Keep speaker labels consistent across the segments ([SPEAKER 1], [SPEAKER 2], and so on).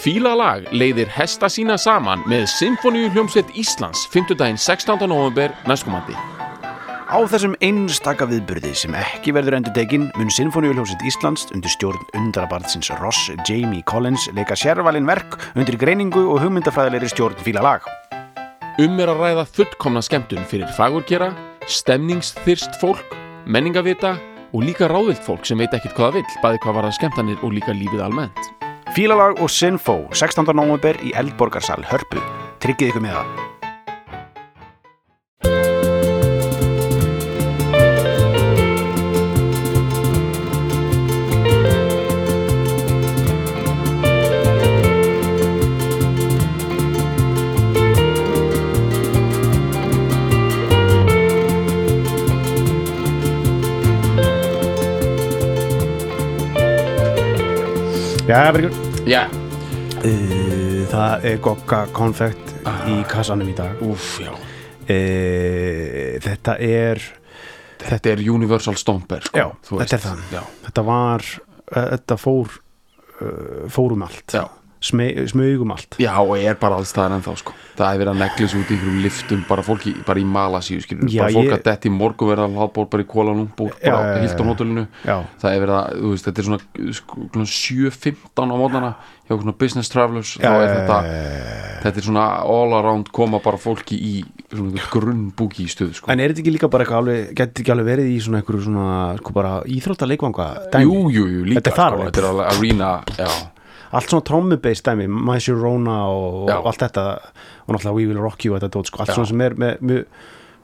[SPEAKER 1] Fílalag leiðir hesta sína saman með Symfóníu hljómsveit Íslands 5. daginn 16. november næstkomandi.
[SPEAKER 2] Á þessum einstaka viðburði sem ekki verður endur tekinn mun Sinfoníuljómsveit Íslands undir stjórn undrabarðsins Ross Jamie Collins leika sérvalin verk undir greiningu og hugmyndafræðilegri stjórn fílalag.
[SPEAKER 1] Um er að ræða fullkomna skemmtun fyrir fagurkera, stemningsþyrst fólk, menningavita og líka ráðvilt fólk sem veit ekkit hvað það vill, bæði hvað var að skemmtanir og líka lífið almennt.
[SPEAKER 2] Fílalag og Sinfó 16. november í Eldborgarsal Hörpu. Tryggið ykkur með það. Já, Bergur.
[SPEAKER 1] Já,
[SPEAKER 2] Uh, það er gokka konfekt
[SPEAKER 1] Ah.
[SPEAKER 2] í kassanum í dag.
[SPEAKER 1] úf, já.
[SPEAKER 2] Uh, þetta er,
[SPEAKER 1] Þetta er Universal Stomper, sko.
[SPEAKER 2] já,
[SPEAKER 1] þú
[SPEAKER 2] þetta er
[SPEAKER 1] veist.
[SPEAKER 2] það.
[SPEAKER 1] Já,
[SPEAKER 2] Þetta var, uh, þetta fór, uh, fórum allt.
[SPEAKER 1] já.
[SPEAKER 2] Sme, smögum allt.
[SPEAKER 1] Já, og er bara alls staðar ennþá, sko. Það er verið að neglis út í einhverjum liftum, bara fólki, bara í Malasíu, skilur.
[SPEAKER 2] Já,
[SPEAKER 1] bara fólk
[SPEAKER 2] ég-
[SPEAKER 1] að detti í morgunverða hláðból bara í Kuala Lumpur, bara
[SPEAKER 2] Já, já,
[SPEAKER 1] á
[SPEAKER 2] já,
[SPEAKER 1] Hilton hotellinu.
[SPEAKER 2] Já,
[SPEAKER 1] Það er verið að, þú veist, þetta er svona sko, svona 7.15 á mótana hjá svona business travelers, þá
[SPEAKER 2] Já,
[SPEAKER 1] er
[SPEAKER 2] já,
[SPEAKER 1] þetta,
[SPEAKER 2] já,
[SPEAKER 1] þetta er svona all around koma bara fólki í svona grunnbúki í stöðu, sko.
[SPEAKER 2] En er þetta ekki líka bara eitthvað alveg, getur ekki alveg verið í svona einhverju svona, sko bara íþrótta leikvanga dæmi?
[SPEAKER 1] jú, jú, jú, líka,
[SPEAKER 2] Þetta er þar
[SPEAKER 1] sko,
[SPEAKER 2] alveg.
[SPEAKER 1] þetta er alveg arena, já,
[SPEAKER 2] Allt svona trommubeist dæmi, My Sharona og,
[SPEAKER 1] Já.
[SPEAKER 2] og allt þetta, og náttúrulega We Will Rock You og þetta dót, sko, allt
[SPEAKER 1] Já.
[SPEAKER 2] svona sem er með, með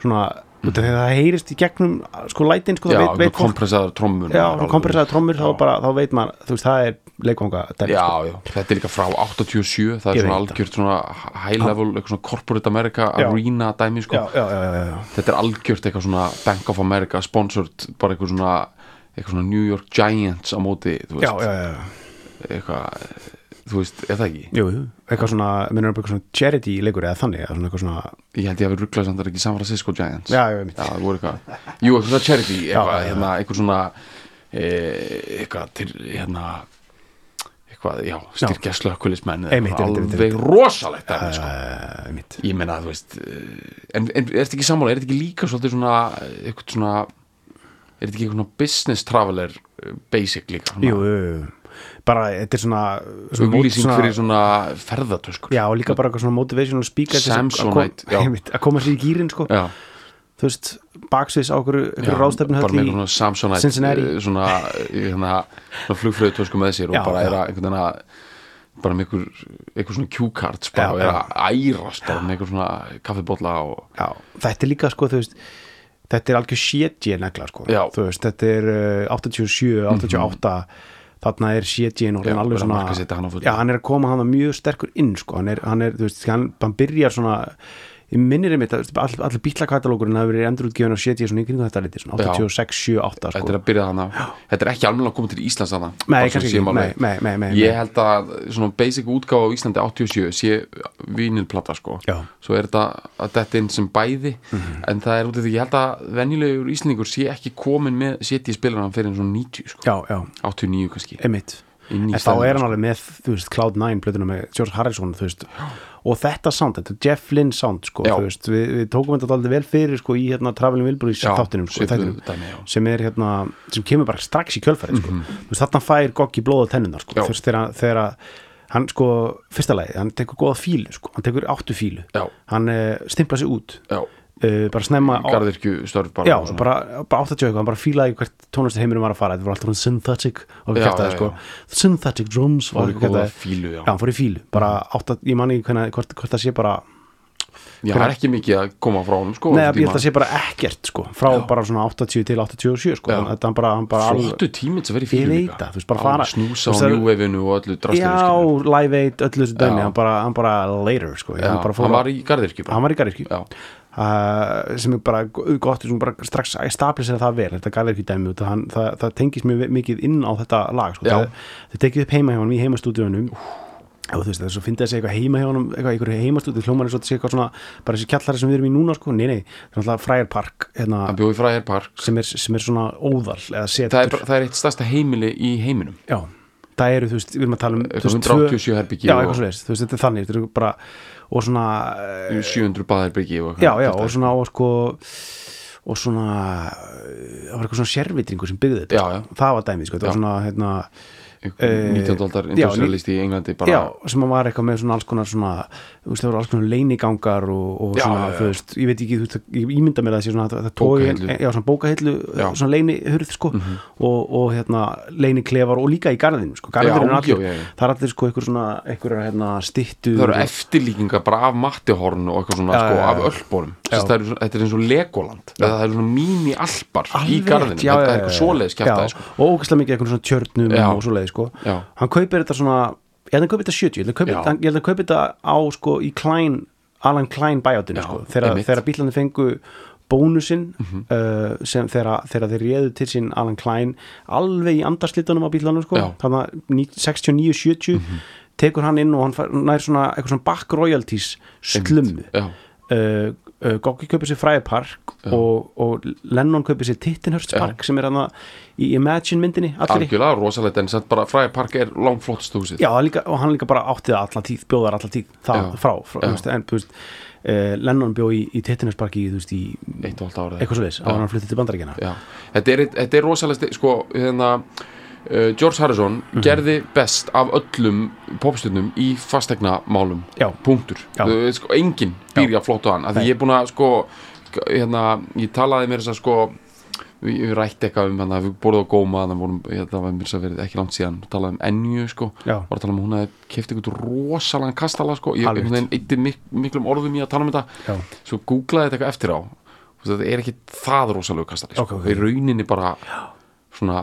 [SPEAKER 2] svona, mm. þegar það heyrist í gegnum, sko, lætin, sko,
[SPEAKER 1] já,
[SPEAKER 2] það veit,
[SPEAKER 1] svona
[SPEAKER 2] veit fólk,
[SPEAKER 1] kompressaðar trommur.
[SPEAKER 2] já,
[SPEAKER 1] alveg-
[SPEAKER 2] kompressaða trommur, þá
[SPEAKER 1] Já.
[SPEAKER 2] bara, þá veit maður, þú veist, það er leikvanga dæmi, sko.
[SPEAKER 1] já, já, þetta er líka frá 87 það
[SPEAKER 2] Ég
[SPEAKER 1] er svona
[SPEAKER 2] veit það.
[SPEAKER 1] algjört svona high level eitthvað svona corporate America
[SPEAKER 2] Já.
[SPEAKER 1] arena dæmi sko,
[SPEAKER 2] Já, já, já, já, já.
[SPEAKER 1] þetta er algjört eitthvað svona Bank of America sponsored bara eitthvað svona, eitthvað svona New York Giants á móti, þú
[SPEAKER 2] Já,
[SPEAKER 1] veist
[SPEAKER 2] já, já, já,
[SPEAKER 1] eitthvað, þú veist, er það ekki
[SPEAKER 2] jú, jú. eitthvað svona, minnur eitthvað svona charity leikur eða þannig, eða svona eitthvað svona,
[SPEAKER 1] ég held ég að við rugglaði samt að það er ekki San Francisco Giants
[SPEAKER 2] já, já, mitt,
[SPEAKER 1] Já, það voru eitthvað Jú, eitthvað svona charity eitthvað,
[SPEAKER 2] já, já.
[SPEAKER 1] Hérna, eitthvað svona e, eitthvað til, hérna eitthvað, já, styrkja slökkulismenn eða
[SPEAKER 2] Einmitt,
[SPEAKER 1] eitthvað
[SPEAKER 2] einmitt, einmitt,
[SPEAKER 1] alveg rosalegt dæmi, sko.
[SPEAKER 2] uh, mitt.
[SPEAKER 1] ég meina þú veist eh, en, en er þetta ekki sammála, er þetta ekki líka svolítið svona eh, eitthvað svona er þetta ekki eitthvað svona business traveler eh, basic líka svona,
[SPEAKER 2] Jú, jú, jú. bara þetta er svona, svona mót-
[SPEAKER 1] auglýsing fyrir svona ferðatöskur
[SPEAKER 2] Já, og líka bara eitthvað svona motivational speaker til þess að- að kom-
[SPEAKER 1] Samsonite, já.
[SPEAKER 2] einmitt, að koma sér í gýrin sko.
[SPEAKER 1] Já,
[SPEAKER 2] þú veist, baksviðs á okkur,
[SPEAKER 1] já,
[SPEAKER 2] okkur
[SPEAKER 1] bara með
[SPEAKER 2] ráðstefnum
[SPEAKER 1] svona Samsonite
[SPEAKER 2] hérna Cincinnati.
[SPEAKER 1] eh, svona, eh, hérna, svona flugfröðutösku með sér
[SPEAKER 2] Já,
[SPEAKER 1] og bara
[SPEAKER 2] já.
[SPEAKER 1] er að einhvern veginn að bara með einhver, einhver svona cue cards
[SPEAKER 2] Já,
[SPEAKER 1] bara og er
[SPEAKER 2] já.
[SPEAKER 1] að ærast bara með einhver svona kaffibólla og
[SPEAKER 2] Já, þetta er líka sko, þú veist þetta er algjör sétji negla sko.
[SPEAKER 1] Já. Mhm.
[SPEAKER 2] þú veist, þetta er uh, 87, 88 þarna er sétjin og hann
[SPEAKER 1] Já,
[SPEAKER 2] alveg
[SPEAKER 1] verið að
[SPEAKER 2] svona
[SPEAKER 1] markasetja hann á fullu.
[SPEAKER 2] já, hann er að koma hann mjög sterkur inn sko. hann, er, hann er, þú veist, hann, hann byrjar svona ég minnir einmitt að all, allir bílakatalókurinn hafi verið endurútgefin á sétji svona í kringum þetta liti, svona
[SPEAKER 1] Já.
[SPEAKER 2] 86, 7, 8 sko.
[SPEAKER 1] þetta er að byrja þannig þetta er ekki alveg að koma til Íslands þannig
[SPEAKER 2] Nei, kannski ekki, nei, nei, nei, nei,
[SPEAKER 1] Ég
[SPEAKER 2] nei.
[SPEAKER 1] held að svona basic útgáfa á Íslandi 87 sé vinilplata sko
[SPEAKER 2] Já. Mhm.
[SPEAKER 1] Svo er þetta að þetta inn sem bæði En það er út af því, ég held að venjulegur Íslandingur sé ekki komin með setji spilaran fyrir en svona 90 sko
[SPEAKER 2] Já, já,
[SPEAKER 1] 89 kannski
[SPEAKER 2] einmitt
[SPEAKER 1] Inn í
[SPEAKER 2] En þá
[SPEAKER 1] stemminguna,
[SPEAKER 2] er hann alveg með, þú veist, Cloud9 plötuna með George Harrison, þú veist og þetta sound, þetta er Jeff Lynne sound sko,
[SPEAKER 1] Já.
[SPEAKER 2] þú veist, við, við tókum þetta aldrei vel fyrir sko, í hérna Traveling Wilburys
[SPEAKER 1] Já,
[SPEAKER 2] þáttinum, sko,
[SPEAKER 1] svipuðu
[SPEAKER 2] þættinum,
[SPEAKER 1] dæmi, já.
[SPEAKER 2] sem er hérna sem kemur bara strax í kjölfæri, sko þú veist, þarna fær Goggi blóð á tennunar, sko
[SPEAKER 1] Mhm. Já.
[SPEAKER 2] þú veist, þegar, þegar að- hann, sko fyrsta lagi, hann tekur góða fílu, sko hann tekur áttu fílu,
[SPEAKER 1] Já.
[SPEAKER 2] hann uh, stimpla sig út
[SPEAKER 1] Já,
[SPEAKER 2] uh, bara snemma á,
[SPEAKER 1] garðirkju störf bara
[SPEAKER 2] já,
[SPEAKER 1] og svona.
[SPEAKER 2] bara, bara 80 eitthvað, hann bara fílaði hvert tónlistar heiminum var að fara, þetta var alltaf svona synthetic og
[SPEAKER 1] Já,
[SPEAKER 2] kjartaði
[SPEAKER 1] já,
[SPEAKER 2] sko, synthetic drums
[SPEAKER 1] Fór í
[SPEAKER 2] eitthvað
[SPEAKER 1] góða
[SPEAKER 2] þetta-
[SPEAKER 1] fílu, já. Mm.
[SPEAKER 2] já, hann fór í fílu, bara 8, ég man ekki hvernig, hvort, hvort það sé bara,
[SPEAKER 1] Já, það er ekki mikið að koma frá honum sko á
[SPEAKER 2] nei,
[SPEAKER 1] þessum
[SPEAKER 2] ég held
[SPEAKER 1] tíma.
[SPEAKER 2] að sé bara ekkert sko, frá bara svona 80 til 87 sko,
[SPEAKER 1] Já.
[SPEAKER 2] þannig að þetta hann bara, hann bara alveg-
[SPEAKER 1] Flottu tíminn sem verið
[SPEAKER 2] Ég
[SPEAKER 1] fílu
[SPEAKER 2] veit
[SPEAKER 1] líka
[SPEAKER 2] það, þú veist, bara
[SPEAKER 1] Alveg
[SPEAKER 2] fara-
[SPEAKER 1] Snúsa á
[SPEAKER 2] þú veist, það-
[SPEAKER 1] njúvefinu og öllu drastinu
[SPEAKER 2] já,
[SPEAKER 1] skilur.
[SPEAKER 2] live aid, öllu þessu dæmi
[SPEAKER 1] Já.
[SPEAKER 2] hann bara, hann bara later sko,
[SPEAKER 1] Já,
[SPEAKER 2] hann bara fór
[SPEAKER 1] hann var
[SPEAKER 2] að-
[SPEAKER 1] í garðirkju bara
[SPEAKER 2] hann var í garðirkju
[SPEAKER 1] Já.
[SPEAKER 2] uh, sem er bara go- gott sem bara strax að stabilisera það vel þetta garðirkju dæmi það, hann, það, það tengist mjög mikið inn á þetta lag sko.
[SPEAKER 1] Já.
[SPEAKER 2] það, það tekið upp heima hjá hann í heimastúdíunum og þú veist það er svo fyndið að segja eitthvað heima hjá hann eitthvað einhverju heimastúdíu hljómar eins og þetta sé eitthvað svona bara þessi kjallari sem við erum í núna sko nei nei það er alltaf fræjar park hérna,
[SPEAKER 1] Hann bjóði fræðir park
[SPEAKER 2] sem, er, sem er svona óðal
[SPEAKER 1] það
[SPEAKER 2] eða
[SPEAKER 1] er,
[SPEAKER 2] setur
[SPEAKER 1] bara- það er eitt stærsta heimili í heiminum
[SPEAKER 2] já þetta eru, þú veist, við erum að tala um þú
[SPEAKER 1] eitthvað
[SPEAKER 2] veist, tvö-
[SPEAKER 1] 187 herbyggi
[SPEAKER 2] Já, eitthvað
[SPEAKER 1] og
[SPEAKER 2] svo þú veist, þetta er þannig, þetta er bara og svona, eh,
[SPEAKER 1] 700 baðherbyggi og eitthvað.
[SPEAKER 2] já, já, og svona og sko og svona það var eitthvað svona sérvitringur sem byggði þetta
[SPEAKER 1] Já, já.
[SPEAKER 2] sko. það var dæmið, sko, þetta
[SPEAKER 1] Já.
[SPEAKER 2] var svona hérna,
[SPEAKER 1] Einhver 19. aldar
[SPEAKER 2] Eh, já,
[SPEAKER 1] industrialist í Englandi bara,
[SPEAKER 2] já, sem að var eitthvað með svona alls konar svona, þú veist, það voru alls konar leinigangar og, og
[SPEAKER 1] Já,
[SPEAKER 2] svona,
[SPEAKER 1] já, já.
[SPEAKER 2] þú veist, ég veit ekki þú, veist, ég ímynda mér að það sé svona, það, það tói
[SPEAKER 1] Bókahillu.
[SPEAKER 2] já, svona bókahillu,
[SPEAKER 1] Já. Mhm.
[SPEAKER 2] svona leinihurð sko, og, og hérna, leiniklefar og líka í garðinu, sko,
[SPEAKER 1] já,
[SPEAKER 2] garðinu er
[SPEAKER 1] já,
[SPEAKER 2] allir
[SPEAKER 1] já, já.
[SPEAKER 2] það er allir sko einhver svona, einhver hérna, stittu
[SPEAKER 1] það eru eftirlíkingar bara af mattihorn og eitthvað svona
[SPEAKER 2] Já,
[SPEAKER 1] sko,
[SPEAKER 2] já, já.
[SPEAKER 1] af öllbórum Þess, það eru svona- þetta er eins og Legoland eða það eru svona mínialpar í
[SPEAKER 2] Alveg
[SPEAKER 1] garðinu
[SPEAKER 2] rétt, já,
[SPEAKER 1] þetta er
[SPEAKER 2] já, já,
[SPEAKER 1] eitthvað
[SPEAKER 2] já.
[SPEAKER 1] svoleiðis
[SPEAKER 2] Já,
[SPEAKER 1] kjæftaði sko.
[SPEAKER 2] og ógæslega mikið eitthvað svona tjörnum
[SPEAKER 1] Já.
[SPEAKER 2] og svoleiði sko
[SPEAKER 1] Já.
[SPEAKER 2] hann kaupir þetta svona ég held að hann kaupir þetta 70, ég held að hann kaupir
[SPEAKER 1] Já.
[SPEAKER 2] þetta- ég held að hann kaupir þetta á sko í Klein Alan Klein bæjátinu
[SPEAKER 1] Já,
[SPEAKER 2] sko þegar,
[SPEAKER 1] einmitt. Mhm.
[SPEAKER 2] þegar bílarnir fengu bónusinn uh, sem þegar, þegar þeir réðu til sín Alan Klein alveg í andarslítunum á bílarnum sko
[SPEAKER 1] Já. Mhm.
[SPEAKER 2] þannig að 69-70 tekur hann inn og hann fær, nær svona eitthvað svona back royalties slummu
[SPEAKER 1] já,
[SPEAKER 2] uh, uh, Goggi kaupir sér fræðipark og, og Lennon kaupir sér Tittenhurstpark sem er hann í Imagine myndinni allri
[SPEAKER 1] algjörlega rosalegt en samt bara fræði park er langflottst húsið
[SPEAKER 2] Já, hann líka, og hann líka bara áttið alla tíð, bjóðar alla tíð það
[SPEAKER 1] Já.
[SPEAKER 2] frá, frá
[SPEAKER 1] Já.
[SPEAKER 2] þú veist, en þú veist uh, Lennon bjóð í, í Tittenhurstparki í, þú veist, í
[SPEAKER 1] eitt og halvt árið
[SPEAKER 2] eitthvað svo leis, á hann fluttið til bandaríkjana
[SPEAKER 1] Já, þetta er, þetta er rosalegt sko, hérna, uh, George Harrison
[SPEAKER 2] Mhm.
[SPEAKER 1] gerði best af öllum popstjörnum í fastegnamálum
[SPEAKER 2] Já.
[SPEAKER 1] punktur,
[SPEAKER 2] Já.
[SPEAKER 1] Þú veist, sko, enginn býr ég að flóta hann, af því ég er búin að sko, hérna, ég talaði mér þess að sko við við rætti eitthvað um hann við borðum á góma þannig vorum, ég, það var mér þess að verið ekki langt síðan talaði um ennju sko
[SPEAKER 2] Já.
[SPEAKER 1] var að tala um að hún hefði keft eitthvað rosalega kastala sko, ég
[SPEAKER 2] Alveg.
[SPEAKER 1] einhvern veginn eitti mik miklum orðum í að tala um þetta
[SPEAKER 2] Já.
[SPEAKER 1] svo googlaði þetta eitthvað eftir á og þetta er ekki það rosalegu kastali sko.
[SPEAKER 2] Ok, ok.
[SPEAKER 1] í rauninni bara svona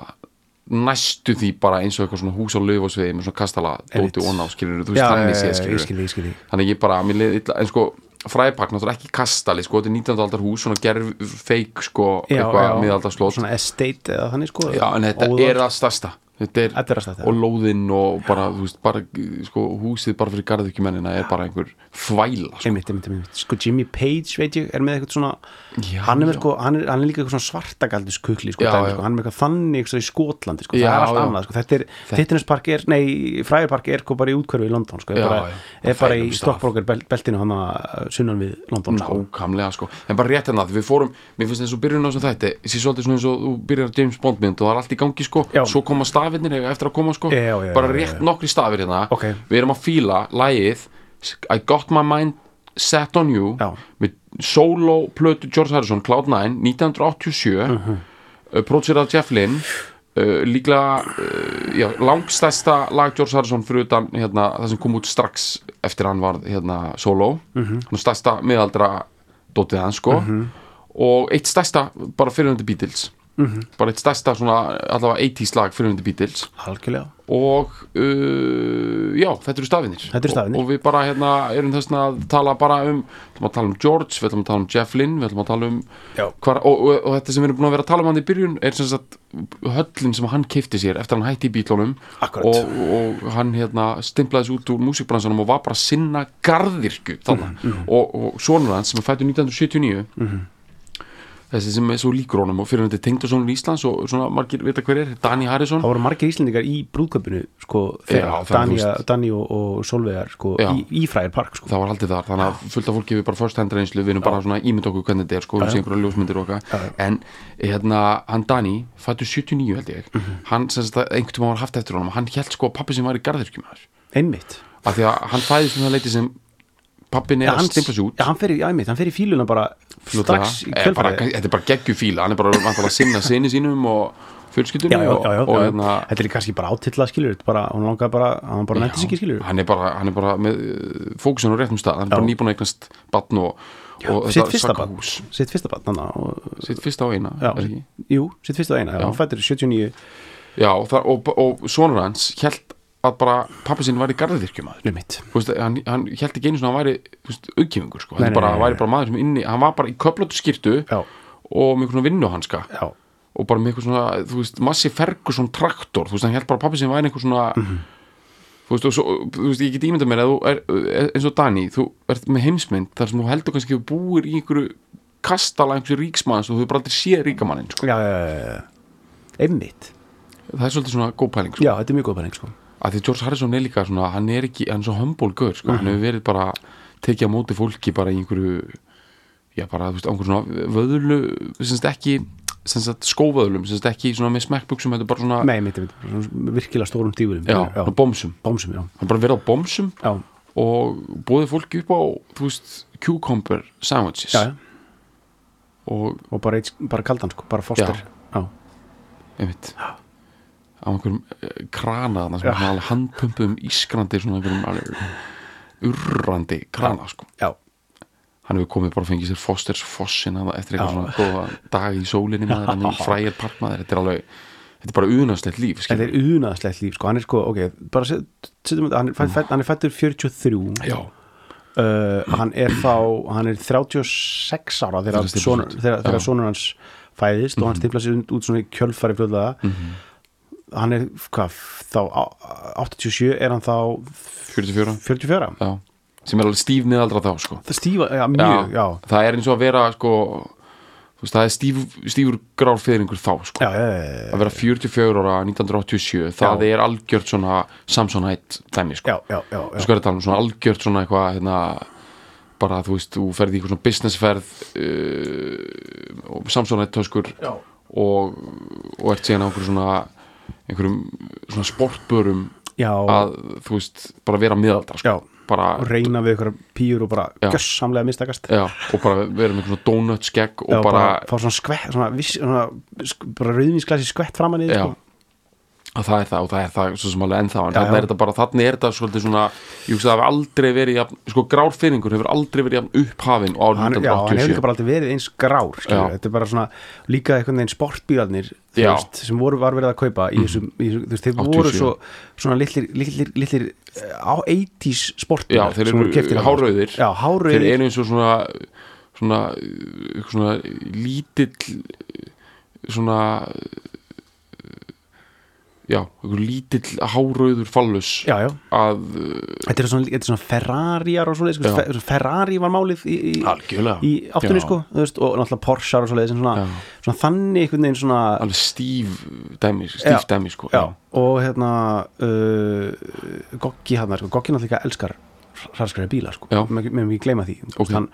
[SPEAKER 1] næstu því bara eins og eitthvað svona hús á löf og sveiði með svona kastala
[SPEAKER 2] Einmitt.
[SPEAKER 1] dóti og ná skilur þú veist þannig sé
[SPEAKER 2] eh, ég
[SPEAKER 1] skilur
[SPEAKER 2] skil, ég skil
[SPEAKER 1] þannig ég bara, mér leið illa en sko fræðipakk náttúrulega ekki kastali sko, þetta er 19. aldar hús svona gerf, feik sko eitthvað miðaldarslót
[SPEAKER 2] Svona estate eða þannig sko
[SPEAKER 1] Já, en þetta
[SPEAKER 2] óðal.
[SPEAKER 1] er að stærsta Þetta er,
[SPEAKER 2] Þetta er að stærsta,
[SPEAKER 1] og lóðinn og bara, þú veist, bara sko, húsið bara fyrir garðvíkjumennina er bara einhver þvæla sko.
[SPEAKER 2] einmitt, einmitt, einmitt. sko Jimmy Page veit ég er með eitthvað svona
[SPEAKER 1] Já,
[SPEAKER 2] hann, er með,
[SPEAKER 1] já.
[SPEAKER 2] sko, hann, er, hann er líka eitthvað svona svartagaldis kukli sko,
[SPEAKER 1] Já,
[SPEAKER 2] dæmi,
[SPEAKER 1] já.
[SPEAKER 2] sko. hann er með eitthvað þannig sko, í Skotlandi sko.
[SPEAKER 1] Já,
[SPEAKER 2] það er allt
[SPEAKER 1] já.
[SPEAKER 2] annað sko. þetta er, Tittinuspark er, nei, Fræðarpark er sko bara í útkverfi í London sko, er
[SPEAKER 1] Já,
[SPEAKER 2] bara,
[SPEAKER 1] já.
[SPEAKER 2] er bara í
[SPEAKER 1] Fælum stað.
[SPEAKER 2] Stockbroker bel- beltinu hann að sunnan við London sko.
[SPEAKER 1] Nákvæmlega sko, en bara rétt hérna því við fórum, mér finnst eins og byrjun á þessum þætti sé svolítið svona eins og þú byrjar á James Bond mynd og það er allt í gangi sko,
[SPEAKER 2] Já.
[SPEAKER 1] svo koma stafinir eftir að koma sko,
[SPEAKER 2] Já, já, já,
[SPEAKER 1] bara
[SPEAKER 2] já,
[SPEAKER 1] rétt nokkri stafir hérna
[SPEAKER 2] Ok.
[SPEAKER 1] við erum að fíla lagið I Got My Mind Set On You
[SPEAKER 2] Já.
[SPEAKER 1] með solo plötu George Harrison, Cloud9 1987 uh producer af Jeff Lynne Uh, líklega uh, já, langstæsta lag George Harrison fyrir utan hérna, það sem kom út strax eftir hann var hérna, solo mm -hmm. stæsta miðaldra dótið hans sko og eitt stæsta bara fyrirhundi Beatles bara eitt stæsta svona allavega 80s lag fyrirhundi Beatles
[SPEAKER 2] algjörlega
[SPEAKER 1] og uh, já, þetta eru stafinir
[SPEAKER 2] Þetta eru stafinir.
[SPEAKER 1] og, og við bara hérna erum þess vegna að tala bara um við ætlum að tala um George, við ætlum að tala um Jeff Lynne við ætlum að tala um
[SPEAKER 2] Já.
[SPEAKER 1] hvar, og, og, og þetta sem við erum búin að vera að tala um hann í byrjun er sem sagt höllin sem hann keipti sér eftir að hann hætti í bílónum
[SPEAKER 2] Akkurat.
[SPEAKER 1] og, og hann hérna stimplaði sér út úr músikbransanum og var bara að sinna garðirkju þarna
[SPEAKER 2] Mhm,
[SPEAKER 1] og, og sonur hans sem er fættur 1979 þessi sem er svo líkur honum og fyrir hann til tengdasónur Íslands og svona margir vita hver er, Dani Harrison
[SPEAKER 2] það voru margir íslendingar í brúðköpinu sko, þegar
[SPEAKER 1] Já, það er
[SPEAKER 2] Dani,
[SPEAKER 1] þú veist.
[SPEAKER 2] Dani og, og Solveigar sko,
[SPEAKER 1] Já.
[SPEAKER 2] í, í Fræðarpark sko.
[SPEAKER 1] það var haldið þar, þannig að fullt af fólki við bara first hand reynslu, við erum bara svona ímynd okkur hvernig þetta er, sko, við séum einhverja ljósmyndir og
[SPEAKER 2] Já,
[SPEAKER 1] okkar en hérna, hann Dani fættu 79 held ég,
[SPEAKER 2] Mhm.
[SPEAKER 1] hann sem sagt að einhvern tímann var haft eftir honum, hann held sko að pappi sem var í garðirkjum aður,
[SPEAKER 2] einmitt
[SPEAKER 1] af því að hann fæðist um það leiti sem pappin er
[SPEAKER 2] Já,
[SPEAKER 1] að stimpla sér út
[SPEAKER 2] já, hann fer í, já, einmitt, hann fer í fíluna bara
[SPEAKER 1] fljótlega.
[SPEAKER 2] strax í
[SPEAKER 1] Eh, bara,
[SPEAKER 2] kjölfærið
[SPEAKER 1] þetta er bara geggjufíla, hann er bara vantala að sinna sinni sínum og fjölskyldunni
[SPEAKER 2] já, já,
[SPEAKER 1] og,
[SPEAKER 2] já, já,
[SPEAKER 1] og
[SPEAKER 2] já.
[SPEAKER 1] hérna
[SPEAKER 2] þetta er kannski bara átilla skilur þetta er bara, hún langaði bara, hann bara nætti sig ekki skilur
[SPEAKER 1] hann er bara, hann er bara með uh, fókusun á réttum stað, hann er bara nýbúin að eignast batn og, og
[SPEAKER 2] sitt fyrsta
[SPEAKER 1] svaka
[SPEAKER 2] barn,
[SPEAKER 1] hús
[SPEAKER 2] sitt fyrsta barn hann og,
[SPEAKER 1] sitt fyrsta á eina,
[SPEAKER 2] já,
[SPEAKER 1] er ekki?
[SPEAKER 2] jú, sitt fyrsta og eina já, hann fættur 79
[SPEAKER 1] Já, og, það, og, og sonur hans held að bara pappi sinn væri garðirkjum aður
[SPEAKER 2] Einmitt.
[SPEAKER 1] veist, hann, hann held ekki einu svona að hann væri auðkjöfingur sko,
[SPEAKER 2] Nei,
[SPEAKER 1] hann
[SPEAKER 2] nei,
[SPEAKER 1] bara,
[SPEAKER 2] nei, nei,
[SPEAKER 1] væri bara maður sem inni hann var bara í köflóttu skýrtu
[SPEAKER 2] Já.
[SPEAKER 1] og með einhvern vinnuhanska
[SPEAKER 2] já,
[SPEAKER 1] og bara með einhvern svona, þú veist, massi Ferguson traktor, þú veist, hann held bara að pappi sinn væri einhvern svona
[SPEAKER 2] Mhm.
[SPEAKER 1] þú veist, og svo, þú veist, ég get ímyndað mér að þú er, eins og Dani, þú ert með heimsmynd þar sem þú heldur kannski að þú búir í einhverju kastala einhverju ríksmanns og þú hefur bara aldrei séð ríkamanninn, sko.
[SPEAKER 2] já, já, já, já einmitt,
[SPEAKER 1] það er svolítið svona góð pæling, sko.
[SPEAKER 2] já, þetta er mjög góð pæling sko.
[SPEAKER 1] að því George Harrison er líka svona, hann er ekki, hann er svo humble gaur, sko,
[SPEAKER 2] Mhm.
[SPEAKER 1] hann hefur verið bara tekið á móti fólki bara í einhverju já, bara, þú veist, á einhverju svona vöðlu, semst ekki semst skóvöðlum, semst ekki svona með smekkbuxum, þetta er bara svona,
[SPEAKER 2] Nei, mitt, mitt, svona virkilega stórum dífurum
[SPEAKER 1] já, svona bómsum
[SPEAKER 2] Bómsum, já,
[SPEAKER 1] hann er bara verið á bómsum
[SPEAKER 2] já,
[SPEAKER 1] og bóðið fólki upp á, þú veist cucumber sandwiches
[SPEAKER 2] já, já.
[SPEAKER 1] og,
[SPEAKER 2] Og bara, eitt, bara kaldan, sko, bara foster
[SPEAKER 1] Já.
[SPEAKER 2] Já,
[SPEAKER 1] einmitt á einhverjum eh, krana þarna sem
[SPEAKER 2] Já.
[SPEAKER 1] er svona alveg handpumpuðum ískrandi svona einhverjum alveg urrandi krana, sko
[SPEAKER 2] já,
[SPEAKER 1] hann hefur komið bara að fengið sér Fosters Fossin að- eftir eitthvað
[SPEAKER 2] Já.
[SPEAKER 1] svona góða dag í sólinni maður, hann er fræjar partmaður þetta er alveg, þetta er bara uðnastlegt líf
[SPEAKER 2] þetta
[SPEAKER 1] skilur.
[SPEAKER 2] er unaðslegt líf, sko Hann er sko, ok, bara set- setjum þetta Hann er, fætt, hann er fættur 43
[SPEAKER 1] já,
[SPEAKER 2] uh, Hann er þá, hann er 36 ára Þegar
[SPEAKER 1] Þegar stíflar
[SPEAKER 2] sonur-
[SPEAKER 1] sig út.
[SPEAKER 2] þegar-
[SPEAKER 1] Já.
[SPEAKER 2] þegar
[SPEAKER 1] Mhm.
[SPEAKER 2] sonur hans fæðist Og hann stifla sér út svona í kjölfari fljóðlega Hann er, hvað, þá á- 87 er hann þá
[SPEAKER 1] 44
[SPEAKER 2] 44
[SPEAKER 1] já. sem er alveg stíf miðaldra þá sko.
[SPEAKER 2] Það stífa, já, mjög, já,
[SPEAKER 1] það er eins og að vera sko, þú veist, það er stíf, stífur grárfyrringur þá sko.
[SPEAKER 2] já, já, já, já.
[SPEAKER 1] að vera 44 ára 1987 það er algjört svona Samson Height dæmi sko.
[SPEAKER 2] já, já, já, já.
[SPEAKER 1] sko er þetta alveg svona algjört svona eitthvað hérna, bara þú veist, þú ferði í eitthvað svona businessferð uh, og Samson Height töskur
[SPEAKER 2] Já.
[SPEAKER 1] og, og ert síðan á einhverjum svona einhverjum svona sportbörum
[SPEAKER 2] já,
[SPEAKER 1] að þú veist, bara vera miðaldra sko.
[SPEAKER 2] já
[SPEAKER 1] bara,
[SPEAKER 2] og reyna við ykkur pýur og bara
[SPEAKER 1] Já.
[SPEAKER 2] gjössamlega mistakast
[SPEAKER 1] já, og bara vera með svona donut skegg og
[SPEAKER 2] Já,
[SPEAKER 1] bara,
[SPEAKER 2] fá svona skvett svona, viss, svona, sk- bara rauðvínsglasi skvett framan í þig,
[SPEAKER 1] já
[SPEAKER 2] sko.
[SPEAKER 1] að það er það og það er það svo sem alveg ennþá en
[SPEAKER 2] Já,
[SPEAKER 1] þannig
[SPEAKER 2] já.
[SPEAKER 1] er þetta bara, þannig er þetta svolítið svona ég hugsa að það hefur aldrei verið jafn, sko grárfyrringur hefur aldrei verið jafn upphafin á
[SPEAKER 2] hann,
[SPEAKER 1] árið
[SPEAKER 2] já, hann hefur
[SPEAKER 1] 1987
[SPEAKER 2] líka bara aldrei verið eins grár skilur,
[SPEAKER 1] Já.
[SPEAKER 2] þetta er bara svona líka einhvern veginn sportbílarnir þú
[SPEAKER 1] Já. Mhm.
[SPEAKER 2] veist, sem voru var verið að kaupa í þessum, í þessum, þú veist, þeir
[SPEAKER 1] 87.
[SPEAKER 2] voru svo svona litlir, litlir, litlir eh, á 80s
[SPEAKER 1] já,
[SPEAKER 2] sportbílar
[SPEAKER 1] þeir
[SPEAKER 2] sem voru keyptir
[SPEAKER 1] eru
[SPEAKER 2] þarna.
[SPEAKER 1] hárauðir
[SPEAKER 2] já, hárauðir,
[SPEAKER 1] þeir eru eins og svona svona, svona, svona lítill svona já, einhver lítill hárauður fallus
[SPEAKER 2] já, já,
[SPEAKER 1] að
[SPEAKER 2] þetta er svona, þetta er svona Ferrariar og svoleiði, sko,
[SPEAKER 1] Já.
[SPEAKER 2] Fe- svona Ferrari var málið í, í,
[SPEAKER 1] Algjörlega.
[SPEAKER 2] í áttunni,
[SPEAKER 1] Já.
[SPEAKER 2] sko, þú veist, og náttúrulega Porsche og svoleiði, sem svona,
[SPEAKER 1] Já.
[SPEAKER 2] svona þannig einhvern veginn svona,
[SPEAKER 1] alveg stíf dæmi, stíf
[SPEAKER 2] Já.
[SPEAKER 1] dæmi sko
[SPEAKER 2] já, og hérna uh, Goggi hann, sko, Goggi náttúrulega elskar hraskari bíla, sko,
[SPEAKER 1] Já.
[SPEAKER 2] með mikið gleyma því Þú
[SPEAKER 1] Ok.
[SPEAKER 2] veist, hann,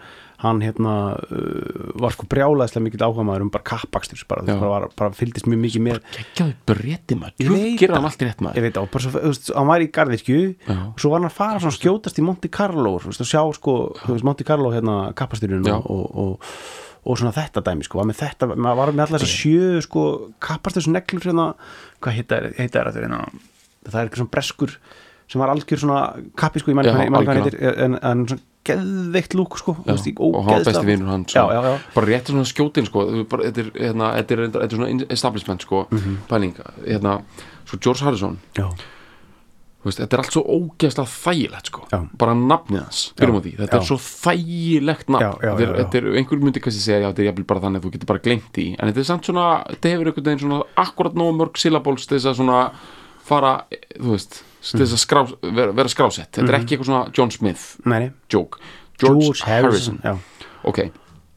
[SPEAKER 2] hann hérna uh, var sko brjálaðislega mikill áhuga maður um bara kappakstur, bara, þú
[SPEAKER 1] Já.
[SPEAKER 2] veist, bara, var, bara fylgdist mjög mikið með
[SPEAKER 1] geggjaðu breyti maður,
[SPEAKER 2] Ég
[SPEAKER 1] Guð
[SPEAKER 2] veit
[SPEAKER 1] gerir
[SPEAKER 2] það.
[SPEAKER 1] hann allt rétt maður
[SPEAKER 2] ég veit á, bara svo, þú veist, hann var í Garðirkju
[SPEAKER 1] Já.
[SPEAKER 2] og svo var hann að fara svona að skjótast í Monte Carlo þú veist, og sjá sko, þú veist, Monte Carlo hérna kappastyrjunum
[SPEAKER 1] Já.
[SPEAKER 2] og, og, og, og svona þetta dæmi, sko, var með þetta maður var með allar þess að sjö, sko, kappastyrjusneglur hérna, hvað heita er heita er þetta hérna, það er eitthvað svona breskur sem var algjör svona kappi, sko, ég mann
[SPEAKER 1] Já,
[SPEAKER 2] hvað ég man ekki hvað hann
[SPEAKER 1] algjörlega.
[SPEAKER 2] heitir, en, en svona geðveikt lúk, sko, þú
[SPEAKER 1] Já,
[SPEAKER 2] veist, í
[SPEAKER 1] og hann var
[SPEAKER 2] ógeðslega-
[SPEAKER 1] besti vinnur hans sko.
[SPEAKER 2] já, já, já,
[SPEAKER 1] bara rétt svona skjótin sko þú- bara, þetta, er, hérna, þetta, er, reyndar- þetta er svona establishment sko
[SPEAKER 2] Mhm.
[SPEAKER 1] pæling hérna, sko George Harrison
[SPEAKER 2] já,
[SPEAKER 1] þú veist, þetta er allt svo ógeðslega þægilegt sko.
[SPEAKER 2] Já.
[SPEAKER 1] bara nafnið hans, byrjum á því þetta
[SPEAKER 2] Já.
[SPEAKER 1] er svo þægilegt nafn
[SPEAKER 2] Já, já,
[SPEAKER 1] þetta er,
[SPEAKER 2] já, já.
[SPEAKER 1] þetta er, einhver myndi kannski segja já, þetta er jafnvel bara þannig að þú getur bara gleymt því en þetta er samt svona, þetta hefur einhvern veginn svona akkurat nóg mörg syllables til þess að svona fara, eh, þú veist til þess að
[SPEAKER 2] Mm.
[SPEAKER 1] skrá, vera, vera skrásett þetta er ekki eitthvað svona John Smith
[SPEAKER 2] neini,
[SPEAKER 1] joke
[SPEAKER 2] Mm. George, Harrison, já,
[SPEAKER 1] ok,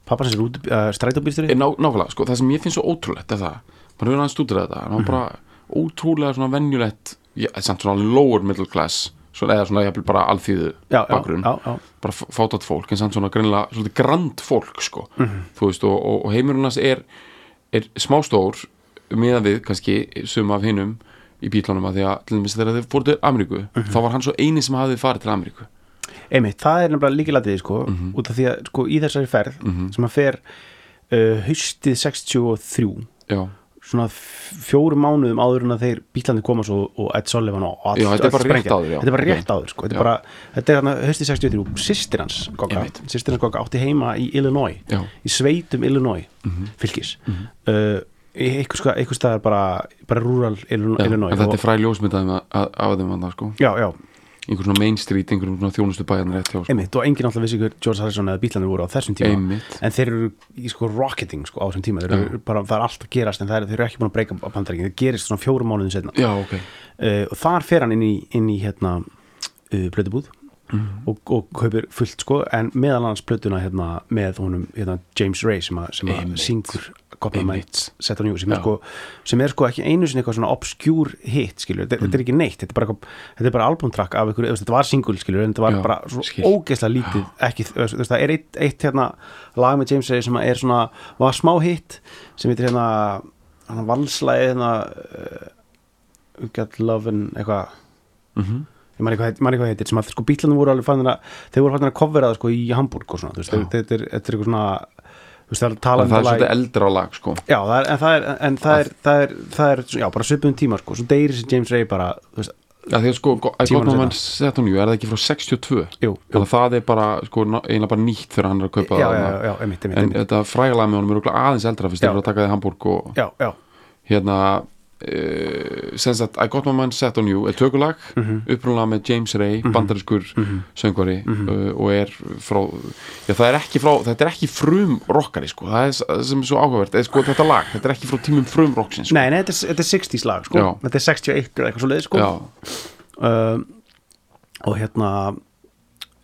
[SPEAKER 2] pappan sér út, uh, strætóbýrstur
[SPEAKER 1] Eh, Ná, nákvæmlega, sko, það sem ég finnst svo ótrúlegt er það, maður hefur aðeins stútur þetta en það
[SPEAKER 2] Mhm.
[SPEAKER 1] var bara ótrúlega svona venjulegt já, samt svona lower middle class svona, eða svona jafnvel bara alþýðu
[SPEAKER 2] já, já,
[SPEAKER 1] bakgrunn,
[SPEAKER 2] já, já,
[SPEAKER 1] bara f- fátat fólk en samt svona greinlega, svolítið grand fólk sko,
[SPEAKER 2] Mhm.
[SPEAKER 1] þú veist, og, og, og heimurunars er er smástór meðan við, kannski, sum af hinnum í bílunum að því að, til dæmis þegar þeir fóru til Ameríku,
[SPEAKER 2] Mhm.
[SPEAKER 1] þá var hann svo eini sem hafði farið til Ameríku,
[SPEAKER 2] einmitt, það er nefnilega líkilatriði sko,
[SPEAKER 1] Mhm.
[SPEAKER 2] út af því að sko, í þessari ferð sem að fer uh, haustið 63
[SPEAKER 1] já
[SPEAKER 2] svona f- fjórum mánuðum áður en að þeir bílandi koma svo og Ed Sullivan og all,
[SPEAKER 1] Já, þetta er
[SPEAKER 2] öll
[SPEAKER 1] bara rétt
[SPEAKER 2] sprengja.
[SPEAKER 1] áður, já.
[SPEAKER 2] þetta er bara
[SPEAKER 1] Ok.
[SPEAKER 2] rétt áður sko. þetta, er
[SPEAKER 1] Já.
[SPEAKER 2] bara, þetta er þarna haustið 63 sýstir hans, Gogga,
[SPEAKER 1] Einmitt.
[SPEAKER 2] systir hans Gogga átti heima í Illinois
[SPEAKER 1] Já.
[SPEAKER 2] í sveitum Illinois
[SPEAKER 1] Mhm.
[SPEAKER 2] fylgis uh, í einhvers, hva- einhvers staðar bara, bara rural Illinois,
[SPEAKER 1] en
[SPEAKER 2] Illinois
[SPEAKER 1] þetta er
[SPEAKER 2] og,
[SPEAKER 1] fræ ljósmyndaðum af þeim annað sko
[SPEAKER 2] já, já,
[SPEAKER 1] einhver svona main street, einhver svona þjónustu bæjan rétt hjá sko.
[SPEAKER 2] einmitt, og enginn alltaf vissi hver George Harrison eða bílanir voru á þessum tíma
[SPEAKER 1] Einmitt.
[SPEAKER 2] en þeir eru í sko rocketing sko, á þessum tíma, þeir eru bara, það er allt að gerast en það er, þeir eru ekki búin að breyka á bandaríkinn, þeir gerist svona fjórum mánuðin setna
[SPEAKER 1] já, ok
[SPEAKER 2] uh, og þar fer hann inn í, inn í hérna uh, blödubúð
[SPEAKER 1] Mhm.
[SPEAKER 2] og, og kaupir fullt sko, en meðal annars blöduna hérna, með honum hérna, James Ray sem, að, sem að
[SPEAKER 1] Einmitt.
[SPEAKER 2] syngur Coppermine Set on You sem
[SPEAKER 1] Já.
[SPEAKER 2] er, sko, sem er sko ekki einu sinni eitthvað svona obscure hit skilur, þetta,
[SPEAKER 1] Mhm.
[SPEAKER 2] þetta er ekki neitt, þetta er bara, eitthvað- þetta er bara albumtrakk af ykkur, þetta var single skilur en þetta var
[SPEAKER 1] Já,
[SPEAKER 2] bara svo
[SPEAKER 1] skil.
[SPEAKER 2] ógeðslega lítið ekki, þú veist, þú veist, það er eitt, eitt hérna, lag með James Ray sem er svona var smá hit sem heitir hérna, hérna valslæði hérna uh, Get Love and eitthvað
[SPEAKER 1] Mhm.
[SPEAKER 2] ég man eitthvað, man eitthvað heitir sem að sko bílarnir voru alveg farin að þeir voru farin að kofvera það sko í Hamburg og svona þú veist,
[SPEAKER 1] Já.
[SPEAKER 2] þetta er- þetta er þetta er eitthvað svona þú veist, það er
[SPEAKER 1] það
[SPEAKER 2] talað
[SPEAKER 1] er
[SPEAKER 2] lag-
[SPEAKER 1] svolítið eldra lag sko
[SPEAKER 2] já, það er, en það er, en það er, það er, það er já, bara svipum tíma sko, svo deyri sem James Ray bara, þú veist,
[SPEAKER 1] Já, því að sko,
[SPEAKER 2] Tímanum
[SPEAKER 1] Godman Set on You er það ekki frá 62
[SPEAKER 2] Jú, jú.
[SPEAKER 1] þannig að það er bara, sko, ná- eiginlega bara nýtt þegar hann er að kaupa
[SPEAKER 2] já,
[SPEAKER 1] það
[SPEAKER 2] já, já,
[SPEAKER 1] þarna.
[SPEAKER 2] já, emitt, emitt,
[SPEAKER 1] en
[SPEAKER 2] emitt
[SPEAKER 1] þetta frægalega með honum er örugglega aðeins eldra fyrst
[SPEAKER 2] Já.
[SPEAKER 1] þeir eru að taka því Hamburg og
[SPEAKER 2] já, já,
[SPEAKER 1] hérna uh, sem sagt I Got My Mind Set On You er tökulag mm
[SPEAKER 2] Mhm.
[SPEAKER 1] með James Ray bandariskur söngvari
[SPEAKER 2] Mhm.
[SPEAKER 1] uh, og er frá já, það er ekki frá, þetta er ekki frum rockari sko, það er s- það sem er svo áhugavert eða, sko, þetta lag, þetta er ekki frá tímum frum rocksins sko.
[SPEAKER 2] nei, nei, þetta er, þetta er 60s lag sko,
[SPEAKER 1] Já.
[SPEAKER 2] þetta er 61 eða eitthvað svo leið sko
[SPEAKER 1] já,
[SPEAKER 2] uh, og hérna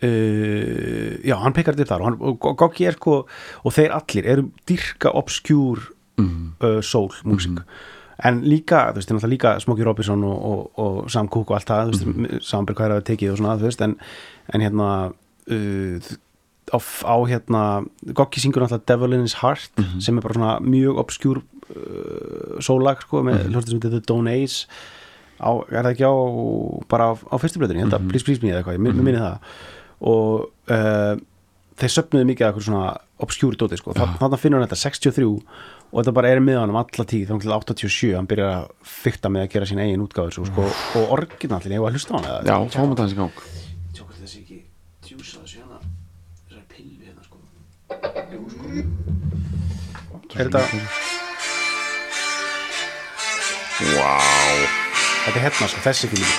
[SPEAKER 2] uh, já, hann pekkar þetta upp þar og, hann, og Goggi er sko og þeir allir eru dyrka obskjúr
[SPEAKER 1] Mhm.
[SPEAKER 2] uh, soul músík en líka, þú veist, er náttúrulega líka Smokey Robinson og, og, og Sam Cooke og allt það, þú veist, mm
[SPEAKER 1] Mhm.
[SPEAKER 2] -hmm. samanbyrg hvað er að tekið og svona, þú veist, en, en hérna uh, á, á hérna Goggi syngur náttúrulega Devil in his heart sem er bara svona mjög obskjúr uh, sólag, sko, með mm -hmm. sem heitir The Donays á, er það ekki á bara á, á fyrstu blöðunni, þetta mm -hmm. Please Please Me eða eitthvað, ég mm -hmm. minni það og uh, þeir söpnuðu mikið að eitthvað svona obskjúri dóti, sko, Þa, þannig finnur hann þetta 63 og þetta bara er með honum alla tíð þannig til 87, hann byrjar að fykta með að gera sín eigin útgáður, svo, sko, og orginallin, ég var að hlusta á hann eða
[SPEAKER 1] já, fáum þetta hans í gang
[SPEAKER 2] Tjókar þessi ekki djúsa þessu hérna þessari pilvi hérna, sko Er þetta,
[SPEAKER 1] wow,
[SPEAKER 2] þetta er hérna, sko, þessi ekki líka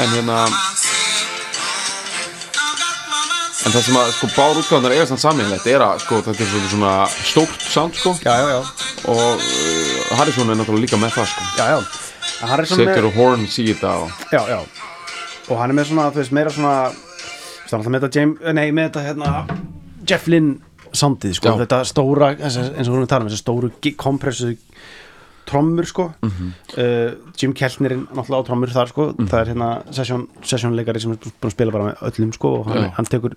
[SPEAKER 3] En hérna
[SPEAKER 1] en það sem að sko bár útgáðanar eigast hann saminlegt er að sko, þetta er svolítið svona stórt sound sko
[SPEAKER 2] Já, já, já,
[SPEAKER 1] og uh, Harrison er náttúrulega líka með það sko
[SPEAKER 2] já, já En hann er svona með-
[SPEAKER 1] Setur og Horn síði þetta og
[SPEAKER 2] já, já. og hann er með svona, þú veist, meira svona það er alltaf með þetta James, eh, nei, með þetta hérna, Jeff Lynne soundið, sko,
[SPEAKER 1] Já.
[SPEAKER 2] þetta stóra eins og eins og við erum að tala um, þessi stóru gi- kompressu trommur, sko
[SPEAKER 1] Mhm.
[SPEAKER 2] uh, Jim Keltnerinn náttúrulega á trommur þar, sko, það er hérna session, sessionleikari sem er búin að spila bara með öllum, sko, og hann,
[SPEAKER 1] Já.
[SPEAKER 2] hann tekur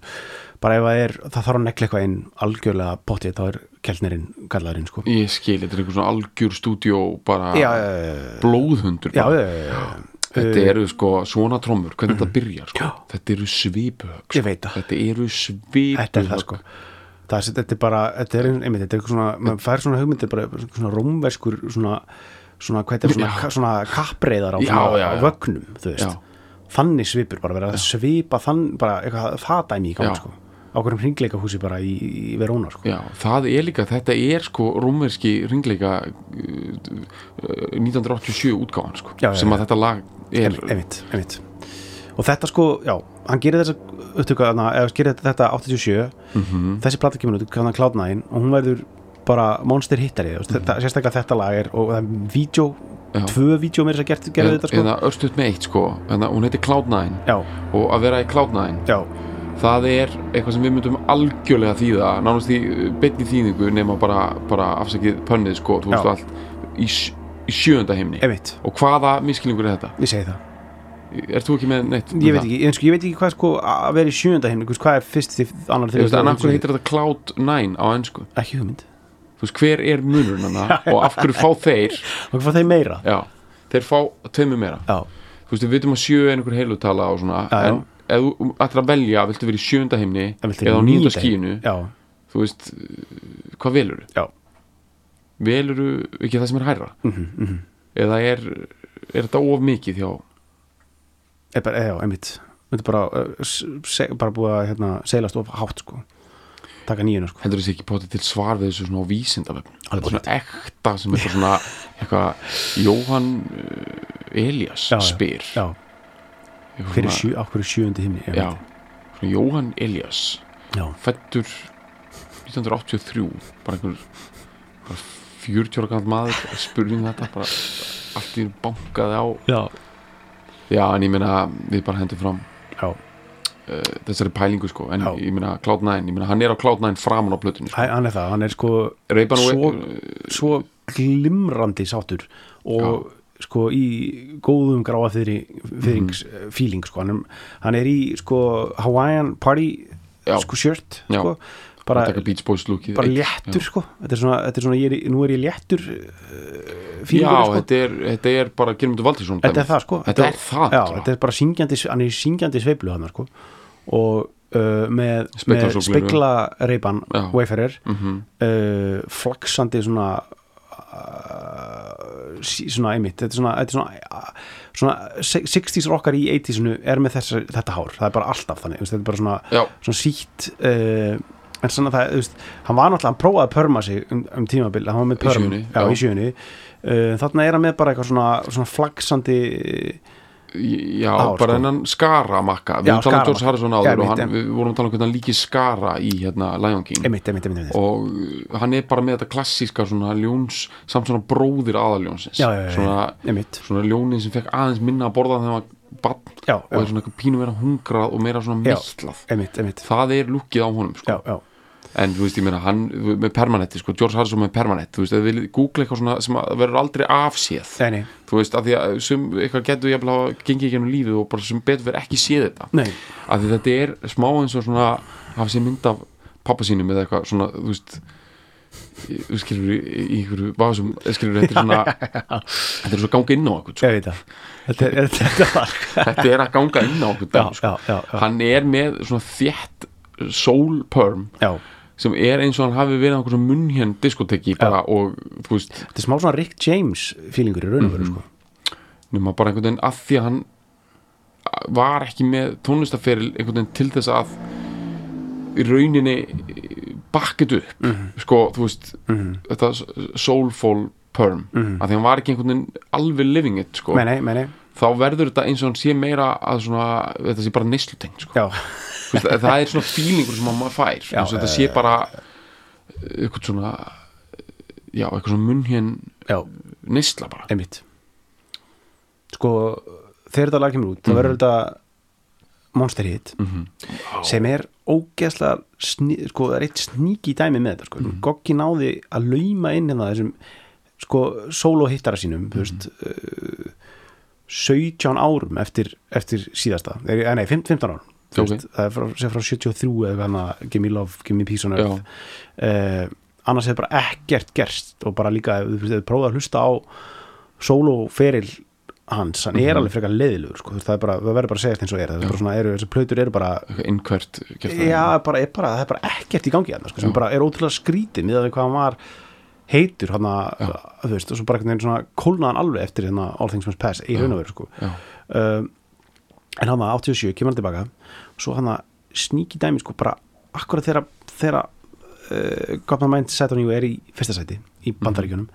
[SPEAKER 2] bara ef það er, það þarf að negla eitthvað inn algjörlega pottið, þá er Keltnerinn kallaðurinn, sko
[SPEAKER 1] ég skil, þetta er einhver svona algjör stúdíó bara
[SPEAKER 2] já, já, já, já,
[SPEAKER 1] blóðhundur
[SPEAKER 2] já,
[SPEAKER 1] bara.
[SPEAKER 2] já, já, já.
[SPEAKER 1] þetta eru sko svona trommur, hvernig þetta byrjar sko. þetta eru svipuhög sko.
[SPEAKER 2] Ég veit það.
[SPEAKER 1] þetta eru svipuhög
[SPEAKER 2] þetta er það sko það, er- þetta er bara, þetta er einmitt þetta er eitthvað svona, maður fær svona hugmyndir bara svona rómverskur svona, svona hvað þetta er, svona,
[SPEAKER 1] Já.
[SPEAKER 2] ka, svona kappreiðar á,
[SPEAKER 1] Já,
[SPEAKER 2] svona,
[SPEAKER 1] já,
[SPEAKER 2] á
[SPEAKER 1] já.
[SPEAKER 2] vögnum, þú veist
[SPEAKER 1] Já.
[SPEAKER 2] þannig svipur, bara verið að svipa þann, bara eitthvað, það dæmi í
[SPEAKER 1] Já.
[SPEAKER 2] gang sko á hverjum hringleika húsi bara í, í Veróna sko.
[SPEAKER 1] Já, það er líka, þetta er sko rúmerski ringleika uh, uh, 1987 útgáðan sko,
[SPEAKER 2] Já, já,
[SPEAKER 1] sem að
[SPEAKER 2] já.
[SPEAKER 1] þetta lag er
[SPEAKER 2] einmitt, einmitt og þetta sko, já, hann gerir þessa upptöku, þarna, eða gerir þetta 87 þessi plata kemur út, hann klátnæðin og hún verður bara monster hittari mm -hmm. sérstaklega þetta lag er og það er vídeo,
[SPEAKER 1] Já.
[SPEAKER 2] tvö vídeo meira sem gert, gerði
[SPEAKER 1] eða,
[SPEAKER 2] þetta sko
[SPEAKER 1] eða örstuðt með eitt sko eða, hún heitir Cloud9
[SPEAKER 2] já,
[SPEAKER 1] og að vera í Cloud9
[SPEAKER 2] já,
[SPEAKER 1] það er eitthvað sem við myndum algjörlega þýða nánast í beinni þýðingu nema bara, bara afsakið pönnið sko, þú veist
[SPEAKER 2] Já.
[SPEAKER 1] allt í, sj- í sjöunda heimni
[SPEAKER 2] einmitt
[SPEAKER 1] og hvaða miskilningur er þetta?
[SPEAKER 2] ég segi það,
[SPEAKER 1] Er þú ekki með neitt? um
[SPEAKER 2] ég veit
[SPEAKER 1] það?
[SPEAKER 2] ekki, en, sko, ég veit ekki hvað sko að vera í sjönda heim, hvað er fyrst því annar
[SPEAKER 1] Þú veist, en af hverju
[SPEAKER 2] þriðja-
[SPEAKER 1] heitir þetta Cloud 9 á ennsku?
[SPEAKER 2] ekki hugmynd,
[SPEAKER 1] Þú veist, hver er munurinn hana og af hverju fá þeir
[SPEAKER 2] og hvað þeim meira
[SPEAKER 1] já, þeir fá tveimur meira
[SPEAKER 2] já,
[SPEAKER 1] þú veist, við veitum að sjö er einhver heilutala og svona,
[SPEAKER 2] Já, já.
[SPEAKER 1] en ef þú ættir að velja, viltu vera í sjönda heimni
[SPEAKER 2] en viltu
[SPEAKER 1] eða á
[SPEAKER 2] í
[SPEAKER 1] nýnda
[SPEAKER 2] níunda heim?
[SPEAKER 1] skínu,
[SPEAKER 2] já,
[SPEAKER 1] þú veist hvað velur?
[SPEAKER 2] já,
[SPEAKER 1] veluru ekki það sem er hærra
[SPEAKER 2] Mhm,
[SPEAKER 1] eða er, er þetta of mikið hjá
[SPEAKER 2] er Eh, bara, já, einmitt þetta er bara, uh, s- se, bara búið að hérna, seilast of hátt sko taka nýjuna sko
[SPEAKER 1] heldur þessi ekki potið til svar við þessu svona á vísindavefn
[SPEAKER 2] Alveg
[SPEAKER 1] svona ekta sem eitthvað svona eitthvað Jóhann uh, Elias
[SPEAKER 2] Já, já.
[SPEAKER 1] spyr
[SPEAKER 2] já,
[SPEAKER 1] Eitthvað
[SPEAKER 2] fyrir
[SPEAKER 1] svona-
[SPEAKER 2] sjö, á hverju sjöundi himni ég
[SPEAKER 1] já,
[SPEAKER 2] veit.
[SPEAKER 1] svona Jóhann Elias
[SPEAKER 2] já,
[SPEAKER 1] fættur 1983 bara einhver bara 40 ára gammal maður spurning þetta bara allt í einu bankaði á
[SPEAKER 2] já,
[SPEAKER 1] já en ég meina við bara hendum fram
[SPEAKER 2] já, já,
[SPEAKER 1] þessari pælingu sko en
[SPEAKER 2] Já.
[SPEAKER 1] ég meina Cloud 9, ég meina hann er á Cloud 9 framan á plötunni sko.
[SPEAKER 2] Hæ- hann er það, hann er sko
[SPEAKER 1] Ray-Ban
[SPEAKER 2] svo,
[SPEAKER 1] og-
[SPEAKER 2] svo glimrandi sáttur og sko í góðum gráa fyrir, fyrings
[SPEAKER 1] Mhm.
[SPEAKER 2] feeling sko, hann er, hann er í sko Hawaiian party
[SPEAKER 1] Já.
[SPEAKER 2] sko shirt
[SPEAKER 1] Já.
[SPEAKER 2] sko, bara,
[SPEAKER 1] taka Beach Boys lúkið
[SPEAKER 2] bara léttur sko, þetta er svona, þetta er svona ég er, í- nú er ég léttur uh,
[SPEAKER 1] Já,
[SPEAKER 2] feelingur sko,
[SPEAKER 1] þetta, er, þetta er bara Gjermundur Valdinsson
[SPEAKER 2] þetta er það sko
[SPEAKER 1] Þetta er það
[SPEAKER 2] já,
[SPEAKER 1] náttúrulega.
[SPEAKER 2] þetta er bara syngjandi, hann er í syngjandi sveiflu hann sko og uh, með,
[SPEAKER 1] Spegla
[SPEAKER 2] með
[SPEAKER 1] svo gleru.
[SPEAKER 2] spegla reypan
[SPEAKER 1] Já. Mhm.
[SPEAKER 2] Wayfarer uh, flaksandi svona uh, sí- svona einmitt þetta er svona, þetta er svona, uh, svona se- 60s rockar í 80sinu er með þessa, þetta hár, það er bara alltaf þannig þú veist, þetta er bara svona,
[SPEAKER 1] Já.
[SPEAKER 2] svona sítt uh, en svona það, þú veist hann var náttúrulega, hann prófaði að pörma sig um, um tímabil hann var með
[SPEAKER 1] Í
[SPEAKER 2] pörm,
[SPEAKER 1] sjöunni,
[SPEAKER 2] já,
[SPEAKER 1] já.
[SPEAKER 2] í sjöunni uh, þarna er hann með bara eitthvað svona, svona flaksandi
[SPEAKER 1] Já,
[SPEAKER 2] Ár,
[SPEAKER 1] bara
[SPEAKER 2] sko.
[SPEAKER 1] hennan skara makka Við
[SPEAKER 2] Já,
[SPEAKER 1] vorum talað um George
[SPEAKER 2] skaramakka.
[SPEAKER 1] Harrison
[SPEAKER 2] Já,
[SPEAKER 1] áður og
[SPEAKER 2] einmitt,
[SPEAKER 1] hann,
[SPEAKER 2] einmitt.
[SPEAKER 1] við vorum að tala um hvernig hann líki skara í hérna Lion King
[SPEAKER 2] einmitt, einmitt, einmitt, einmitt.
[SPEAKER 1] og uh, hann er bara með þetta klassíska svona ljóns, samt svona bróðir aðaljónsins
[SPEAKER 2] Já, já, já, já.
[SPEAKER 1] svona,
[SPEAKER 2] einmitt
[SPEAKER 1] svona ljónin sem fekk aðeins minna að borða þegar hann var barn
[SPEAKER 2] já,
[SPEAKER 1] og
[SPEAKER 2] já,
[SPEAKER 1] er svona eitthvað pínu meira hungrað og meira svona
[SPEAKER 2] Já.
[SPEAKER 1] meitlað
[SPEAKER 2] einmitt, einmitt
[SPEAKER 1] það er lukkið á honum sko.
[SPEAKER 2] já, já,
[SPEAKER 1] en þú veist ég meina hann með permanetti sko, George Harrison með permanetti þú veist ef við googla eitthvað svona sem að verður aldrei afséð
[SPEAKER 2] nei, nei,
[SPEAKER 1] þú veist að því að sum, eitthvað getur jafnvel að gengi ekki um lífið og bara sem betur verð ekki séð þetta
[SPEAKER 2] nei
[SPEAKER 1] að því þetta er smá eins og svona hafa sér mynd af pappa sínum eða eitthvað svona þú veist í- þú skilur í í einhverju básum skilur þetta er svona þetta er svo að ganga inn á okkur sko.
[SPEAKER 2] ég veit það þetta er, þetta var
[SPEAKER 1] þetta er að ganga inn á okkur
[SPEAKER 2] já,
[SPEAKER 1] dæmi, sko.
[SPEAKER 2] já, já, já,
[SPEAKER 1] hann er með svona þétt soul perm
[SPEAKER 2] já
[SPEAKER 1] sem er eins og hann hafi verið á einhverjum munnhjörn diskoteki bara og þú veist
[SPEAKER 2] þetta er smá svona Rick James feelingur í raun og veru
[SPEAKER 1] Mhm.
[SPEAKER 2] sko
[SPEAKER 1] nema bara einhvern veginn að því að hann var ekki með tónlistaferil einhvern veginn til þess að í rauninni bakkið upp
[SPEAKER 2] Mhm.
[SPEAKER 1] sko, þú veist þetta soulful perm að því hann var ekki einhvern veginn alveg living it sko,
[SPEAKER 2] Mhm. nei, nei, nei, nei,
[SPEAKER 1] þá verður þetta eins og hann sé meira að svona, þetta sé bara neyslutengt sko.
[SPEAKER 2] já,
[SPEAKER 1] Þú veist, það er svona fílingur sem maður fær já,
[SPEAKER 2] Já,
[SPEAKER 1] þetta sé bara eitthvað svona já, eitthvað svona munnhjörn
[SPEAKER 2] já,
[SPEAKER 1] neysla bara
[SPEAKER 2] einmitt sko, þegar þetta lag kemur út
[SPEAKER 1] Mhm.
[SPEAKER 2] þá verður þetta monster hit sem er ógeðslega sní, sko, það er eitt sníki dæmi með þetta sko.
[SPEAKER 1] Mhm.
[SPEAKER 2] Goggi náði að lauma inn hérna þessum sko, solo hittara
[SPEAKER 1] Mhm.
[SPEAKER 2] sínum þú veist uh, 17 árum eftir, eftir síðasta, Þeir- eh, nei, 15 15 árum Þú
[SPEAKER 1] Ok.
[SPEAKER 2] veist, það er frá, sem frá 73 eða hana, Gimme Love, Gimme Peace on Earth
[SPEAKER 1] Já.
[SPEAKER 2] uh, annars hefur bara ekkert gerst og bara líka, ef þú veist, ef þú prófaði að hlusta á soloferil hans, hann er alveg frekar leiðilegur sko, þú veist, það er bara, það verður bara að segja þetta eins og er það er bara svona, eru, þessi plötur eru bara
[SPEAKER 1] eitthvað innkvært gert það.
[SPEAKER 2] Já, bara, er bara, það er bara ekkert í gangi hérna, sko, sem bara er ótrúlega skrítið miðað við hvað hann var heitur hann þú veist, og svo bara einhvern veginn svona kólnaðan alveg eftir hérna All Things Must Pass í raun og veru, sko
[SPEAKER 1] Já.
[SPEAKER 2] um, en hann 87 kemur hann tilbaka svo hann sníki dæmi, sko, bara akkurat þegar, þegar uh, God My Mind Set On You er í fyrsta sæti
[SPEAKER 1] Mhm.
[SPEAKER 2] í bandaríkjunum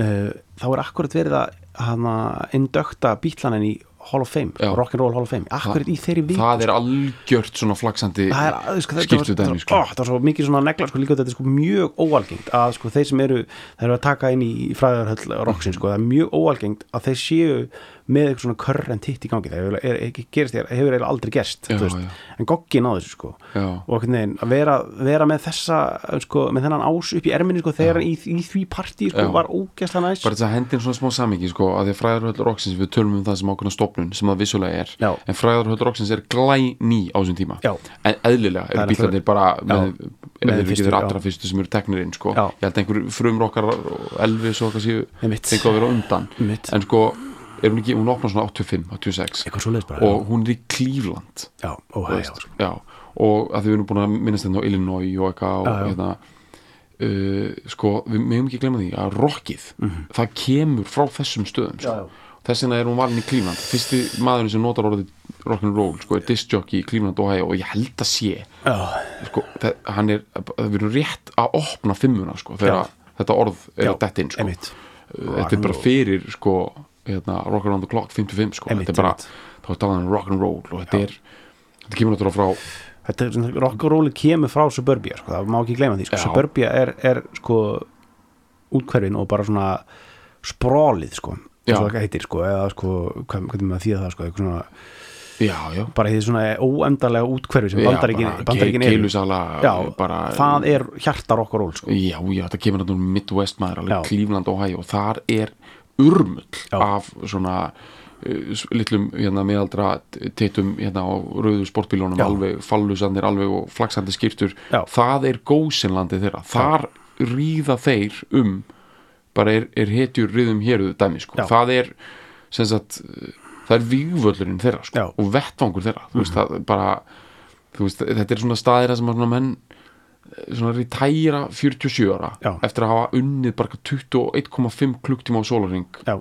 [SPEAKER 2] uh, þá er akkurat verið að hann indökta bítlanin í Hall of Fame,
[SPEAKER 1] Já.
[SPEAKER 2] Rock'n'Roll Hall of Fame akkurat í þeirri viku,
[SPEAKER 1] það er algjört svona flaksandi
[SPEAKER 2] sko. það er, þú sko, þetta
[SPEAKER 1] skiptu
[SPEAKER 2] var-
[SPEAKER 1] dæmi
[SPEAKER 2] ó,
[SPEAKER 1] sko.
[SPEAKER 2] það var svo mikið svona negla sko, líka þetta er sko mjög óalgengt að sko þeir sem eru, þeir eru að taka inn í fræðarhöll roxin sko, það er mjög óalgengt að þeir séu með eitthvað svona current hit í gangi, það er, er, ekki gerist þér hefur eiginlega aldrei gerst,
[SPEAKER 1] Já,
[SPEAKER 2] þú veist,
[SPEAKER 1] já.
[SPEAKER 2] en goggi náðu þessu sko
[SPEAKER 1] Já.
[SPEAKER 2] og einhvern veginn að vera, vera með þessa sko, með þennan ás upp í erminni sko þegar hann í, í því partí sko
[SPEAKER 1] Já.
[SPEAKER 2] var ógæsla næs
[SPEAKER 1] bara þess að hendin svona smá samingi sko, að því að fræðarhöll roksins við tölum um það sem ákveðna stopnun sem það vissulega er
[SPEAKER 2] Já.
[SPEAKER 1] en fræðarhöll roksins er glæ ný á þessum tíma
[SPEAKER 2] Já.
[SPEAKER 1] en eðlilega
[SPEAKER 2] Það
[SPEAKER 1] eru
[SPEAKER 2] er
[SPEAKER 1] bílarnir bara með,
[SPEAKER 2] Já.
[SPEAKER 1] með
[SPEAKER 2] Með
[SPEAKER 1] þeir ekki
[SPEAKER 2] fyrstu,
[SPEAKER 1] þeir
[SPEAKER 2] já.
[SPEAKER 1] allra fyrstu sem eru teknir inn sko.
[SPEAKER 2] Já.
[SPEAKER 1] ég held að einhver frumrokkar og Elvis og hvað séu
[SPEAKER 2] Einmitt.
[SPEAKER 1] tengu að vera á undan
[SPEAKER 2] Einmitt.
[SPEAKER 1] en sko er hún ekki, hún opnar svona 85, 86
[SPEAKER 2] eitthvað svo leiðis bara
[SPEAKER 1] og hún er í Cleveland
[SPEAKER 2] já, ó,
[SPEAKER 1] Þú
[SPEAKER 2] hæ, já,
[SPEAKER 1] veist,
[SPEAKER 2] sko.
[SPEAKER 1] já, og að því við erum búin að minnast þetta á Illinois og eitthvað og
[SPEAKER 2] Já, já.
[SPEAKER 1] hérna uh, sko, við meðum ekki glemma því að rockið, það kemur frá þessum stöðum, sko,
[SPEAKER 2] Mhm. Já, já.
[SPEAKER 1] þess vegna er hún valin í Cleveland, fyrsti maðurinn sem notar orðið rock'n'roll, sko, er discjockey í Cleveland, Ohio og ég held að sé
[SPEAKER 2] já,
[SPEAKER 1] sko, það, hann er, við erum rétt að opna fimmuna, sko, þegar þetta orð er
[SPEAKER 2] Já,
[SPEAKER 1] að detta inn, sko
[SPEAKER 2] einmitt.
[SPEAKER 1] þetta er bara fyrir sko, hérna, Rock Around the Clock 55 sko.
[SPEAKER 2] Einmitt,
[SPEAKER 1] þetta er bara,
[SPEAKER 2] einmitt.
[SPEAKER 1] þá er talað um rock and roll og þetta er, þetta kemur náttúrulega frá
[SPEAKER 2] þetta er svona rock'n'rolli kemur frá suburbia, sko, það má ekki gleyma því sko.
[SPEAKER 1] Já.
[SPEAKER 2] suburbia er, er sko útkverfin og bara svona sprólið sko, eins
[SPEAKER 1] Já.
[SPEAKER 2] og það heitir sko, eða sko, hvað, hvernig maður þýða það sko, eitthvað svona
[SPEAKER 1] já, já
[SPEAKER 2] bara í því svona óendarlega útkverfi sem bandaríkin, bandaríkin
[SPEAKER 1] er
[SPEAKER 2] er
[SPEAKER 1] keilusala,
[SPEAKER 2] já,
[SPEAKER 1] bara
[SPEAKER 2] það er hjartar okkar ról sko.
[SPEAKER 1] já, já, þetta kemur hann um Midwest maður
[SPEAKER 2] Já.
[SPEAKER 1] alveg Cleveland, Ohio og þar er urmull
[SPEAKER 2] Já.
[SPEAKER 1] af svona uh, s- litlum hérna meðaldra teitum hérna á rauðu sportbílunum
[SPEAKER 2] Já.
[SPEAKER 1] alveg fallusandir, alveg og flaksandi skýrtur
[SPEAKER 2] Já.
[SPEAKER 1] það er gósinlandið þeirra þar ríða þeir um bara er, er hetjur ríðum héruðu dæmi sko,
[SPEAKER 2] Já.
[SPEAKER 1] það er sem sagt, uh, það er vígvöllurinn þeirra
[SPEAKER 2] Já. Mhm.
[SPEAKER 1] sko, og vettvangur þeirra þú veist, það er bara þú veist, þetta er svona staðir þar sem að svona menn svona retæra 47 ára
[SPEAKER 2] Já.
[SPEAKER 1] eftir að hafa unnið bara 21,5 klukktíma á sólarring
[SPEAKER 2] já,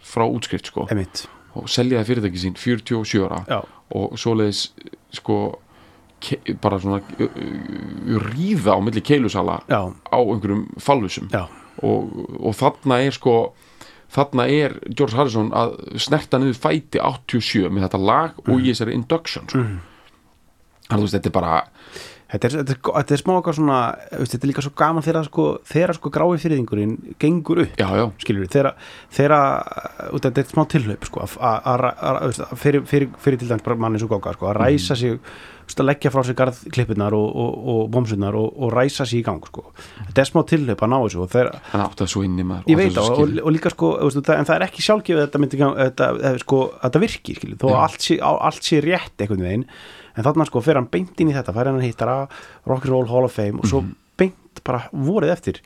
[SPEAKER 1] frá útskrift sko
[SPEAKER 2] emitt
[SPEAKER 1] og selja það fyrirtæki sín 47 ára
[SPEAKER 2] Já.
[SPEAKER 1] og svoleiðis sko ke- bara svona ö- ö- ríða á milli keilusala
[SPEAKER 2] Já.
[SPEAKER 1] á einhverjum fallusum
[SPEAKER 2] Já.
[SPEAKER 1] og, og þarna er sko þarna er George Harrison að snerta niður fæti 87 með þetta lag
[SPEAKER 2] Mhm.
[SPEAKER 1] og í þessari induction sko. mm. þannig að þú veist þetta er bara
[SPEAKER 2] Þetta er, þetta, er, go- þetta er smá okkar svona þú veist, þetta er líka svo gaman þegar sko, þegar sko grái fyrirðingurinn gengur upp
[SPEAKER 1] já já
[SPEAKER 2] skilur við, þeirra, þeirra uh, út, af þetta er smá tilhlaup sko, að- að- að- að- þú veist, að fyrir, fyrir, fyrir til dæmis bara manni svo góka, sko, að ræsa sig þú veist, að leggja frá sig garðklippurnar og, og, og bomsunar og, og ræsa sig í gang sko. þetta er smá tilhlaup að ná þessu og þeirra,
[SPEAKER 1] hann átti það svo inni maður
[SPEAKER 2] ég
[SPEAKER 1] og átti
[SPEAKER 2] veit á,
[SPEAKER 1] það svo
[SPEAKER 2] og,
[SPEAKER 1] skilið.
[SPEAKER 2] og líka sko, þú veist, það, en það er ekki sjálfgefið að þetta myndi, gang- að þetta, eða, sko, að þetta virki skilur, þó að
[SPEAKER 1] Já.
[SPEAKER 2] allt sé, á, allt sé rétt einhvern veginn, en þarna sko fer hann beint inn í þetta, fær hann að hittara Rock'n'Roll Hall of Fame og svo
[SPEAKER 1] Mhm.
[SPEAKER 2] beint bara vorið eftir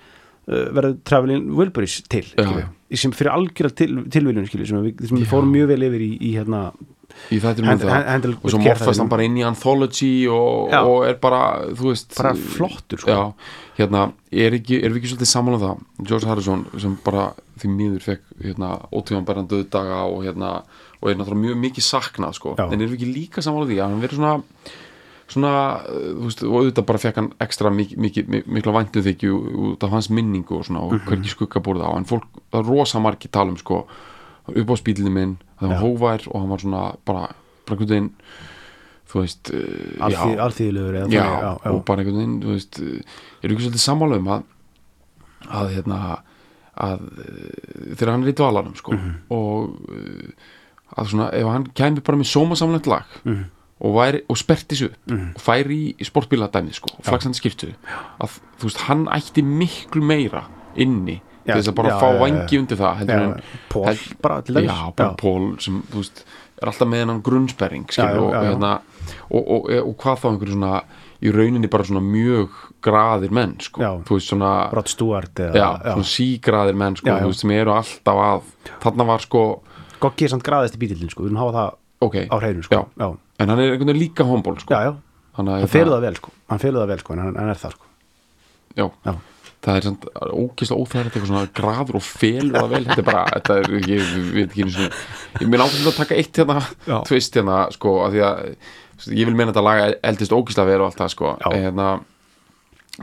[SPEAKER 2] uh, verður Travelin Wilburys til
[SPEAKER 1] Já,
[SPEAKER 2] skilur,
[SPEAKER 1] já.
[SPEAKER 2] í sem fyrir algjör til, tilviljun skilur, sem við, sem við fórum mjög vel yfir í, í hérna,
[SPEAKER 1] í þættinum
[SPEAKER 2] Hand-
[SPEAKER 1] um það
[SPEAKER 2] hand- handle
[SPEAKER 1] og svo
[SPEAKER 2] with care
[SPEAKER 1] morfast
[SPEAKER 2] þættinum.
[SPEAKER 1] hann bara inn í anthology og,
[SPEAKER 2] Já.
[SPEAKER 1] og er bara, þú veist
[SPEAKER 2] Bara flottur, sko.
[SPEAKER 1] já, hérna, er ekki, erum við ekki svolítið saman á það George Harrison sem bara því miður fekk hérna, ótífamberðan döðdaga og, hérna, og er náttúrulega mjög mikið saknað sko.
[SPEAKER 2] Já.
[SPEAKER 1] en erum við ekki líka saman á því að hann verið svona svona, uh, þú veist, og auðvitað bara fekk hann ekstra mik mik mik mikla væntu þykju út af hans minningu og svona og
[SPEAKER 2] Mhm.
[SPEAKER 1] hvergi skugga búið á, en fólk, það er rosa margi tala um sko, upp á spýlinni minn það var hóvær og hann var svona bara, bara einhvern veginn þú veist, uh,
[SPEAKER 2] alþýð-
[SPEAKER 1] já,
[SPEAKER 2] alþýðulegur
[SPEAKER 1] já,
[SPEAKER 2] eða þannig, já, já.
[SPEAKER 1] og bara einhvern veginn, þú veist uh, eru ekki svolítið sammála um að að hérna að uh, þegar hann er í dvalanum sko,
[SPEAKER 2] Mhm.
[SPEAKER 1] og uh, að svona, ef hann kæmi bara með sómasamlegt lag
[SPEAKER 2] Mhm.
[SPEAKER 1] og, væri, og sperti sér upp og færi í sportbíladæmi sko, og flaksandi skiptu að þú veist, hann ætti miklu meira inni
[SPEAKER 2] Já,
[SPEAKER 1] til þess að bara
[SPEAKER 2] já,
[SPEAKER 1] fá
[SPEAKER 2] já, já.
[SPEAKER 1] vangi undir það heldur
[SPEAKER 2] Já,
[SPEAKER 1] en-
[SPEAKER 2] Paul
[SPEAKER 1] held-
[SPEAKER 2] bara til dæmis.
[SPEAKER 1] já, bara
[SPEAKER 2] Já.
[SPEAKER 1] Paul sem, þú veist, er alltaf með hennan grunnsperring skilur,
[SPEAKER 2] Já, já,
[SPEAKER 1] og,
[SPEAKER 2] já, já.
[SPEAKER 1] Hérna, og, og, eh, og, og hvað þá einhverju svona í rauninni bara svona mjög graðir menn sko,
[SPEAKER 2] Já.
[SPEAKER 1] þú veist svona
[SPEAKER 2] Rod Stewart eða,
[SPEAKER 1] já, svona sígraðir menn sko,
[SPEAKER 2] Já, já.
[SPEAKER 1] þú veist, sem eru alltaf að þarna var sko,
[SPEAKER 2] Goggi er samt graðist í bítillin sko, við erum hafa það
[SPEAKER 1] ok
[SPEAKER 2] á hreinu sko.
[SPEAKER 1] já. en hann er einhvern veginn líka hombol sko.
[SPEAKER 2] já, já,
[SPEAKER 1] þannig hérna-
[SPEAKER 2] hann felur það vel sko hann felur það vel sko, en hann, hann er það sko
[SPEAKER 1] já,
[SPEAKER 2] já,
[SPEAKER 1] það er samt ógeðslega óþægilegt eitthvað svona graður og felur það vel þetta er bara, þetta er, ég, ég veit ekki einu sinni- ég mér áfram að taka eitt
[SPEAKER 2] Já.
[SPEAKER 1] hérna tvist hérna, sko, af því að ég vil meina þetta laga eldist ógeðslega vel og allt það, sko,
[SPEAKER 2] Já.
[SPEAKER 1] En hérna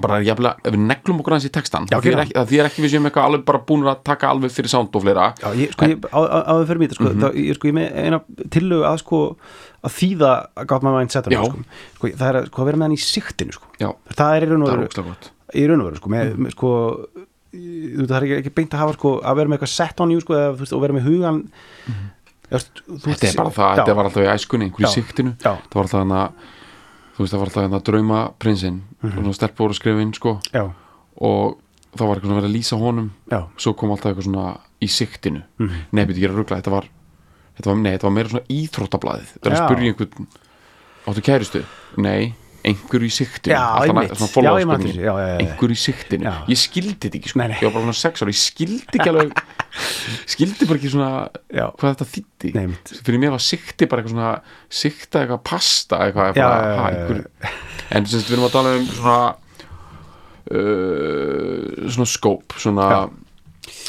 [SPEAKER 1] bara jafnilega, ef við neglum okkur aðeins í textan
[SPEAKER 2] Já,
[SPEAKER 1] það þýðir
[SPEAKER 2] gerum.
[SPEAKER 1] ekki, það þýðir ekki við séum eitthvað alveg bara búin að taka alveg fyrir sound og fleira
[SPEAKER 2] já ég, sko, ég, á, á, áður fyrir mér sko,
[SPEAKER 1] Mhm.
[SPEAKER 2] mm ég, sko, ég er með eina tillögu að sko að þýða að gátt maður einn setan
[SPEAKER 1] Já.
[SPEAKER 2] sko. Sko, það er að, sko, að vera með hann í siktinu sko.
[SPEAKER 1] Já.
[SPEAKER 2] það er í raun og
[SPEAKER 1] það er
[SPEAKER 2] veru
[SPEAKER 1] ógeðslega gott Mhm.
[SPEAKER 2] í raun og veru sko, með, með, sko í- þú, veist, það er ekki, ekki beint að hafa sko, að vera með eitthvað set on you sko, eða, þú veist, og vera með hugan mm
[SPEAKER 1] Mhm. þetta er bara það, þetta var alltaf í æskunni einhverju
[SPEAKER 2] Já.
[SPEAKER 1] siktinu,
[SPEAKER 2] Já.
[SPEAKER 1] það var alltaf hann að þú veist, það var alltaf hérna hann að drauma prinsinn
[SPEAKER 2] Mhm.
[SPEAKER 1] mm -hmm. stelpur voru að skrifa inn sko
[SPEAKER 2] já,
[SPEAKER 1] og það var eitthvað svona verið að lýsa honum
[SPEAKER 2] já, Mhm.
[SPEAKER 1] svo kom alltaf eitthvað svona í siktinu mm -hmm. nei, betur ekki að ruggla, þetta var þetta var, nei, þetta var meira svona íþróttablaðið það er að
[SPEAKER 2] Já.
[SPEAKER 1] spyrja einhvern, áttu kæristu? nei, einhverju í siktinu
[SPEAKER 2] Já,
[SPEAKER 1] Alltaf
[SPEAKER 2] einmitt.
[SPEAKER 1] svona
[SPEAKER 2] Já,
[SPEAKER 1] follow-up
[SPEAKER 2] ég man
[SPEAKER 1] spurningin.
[SPEAKER 2] eftir þessu. Já, já, já, já.
[SPEAKER 1] einhverju í siktinu,
[SPEAKER 2] Já.
[SPEAKER 1] ég skildi þetta ekki sko.
[SPEAKER 2] Nei, nei.
[SPEAKER 1] ég var bara svona sex ára, ég skildi ekki alveg skildi bara ekki svona
[SPEAKER 2] Já.
[SPEAKER 1] hvað þetta þýtti
[SPEAKER 2] Nei, einmitt.
[SPEAKER 1] fyrir mér var sikti bara eitthvað svona sikta eitthvað pasta eitthvað,
[SPEAKER 2] Já,
[SPEAKER 1] bara,
[SPEAKER 2] já, já,
[SPEAKER 1] ha,
[SPEAKER 2] já, já.
[SPEAKER 1] einhver- en sem sagt, við erum að tala um svona uh, svona skóp svona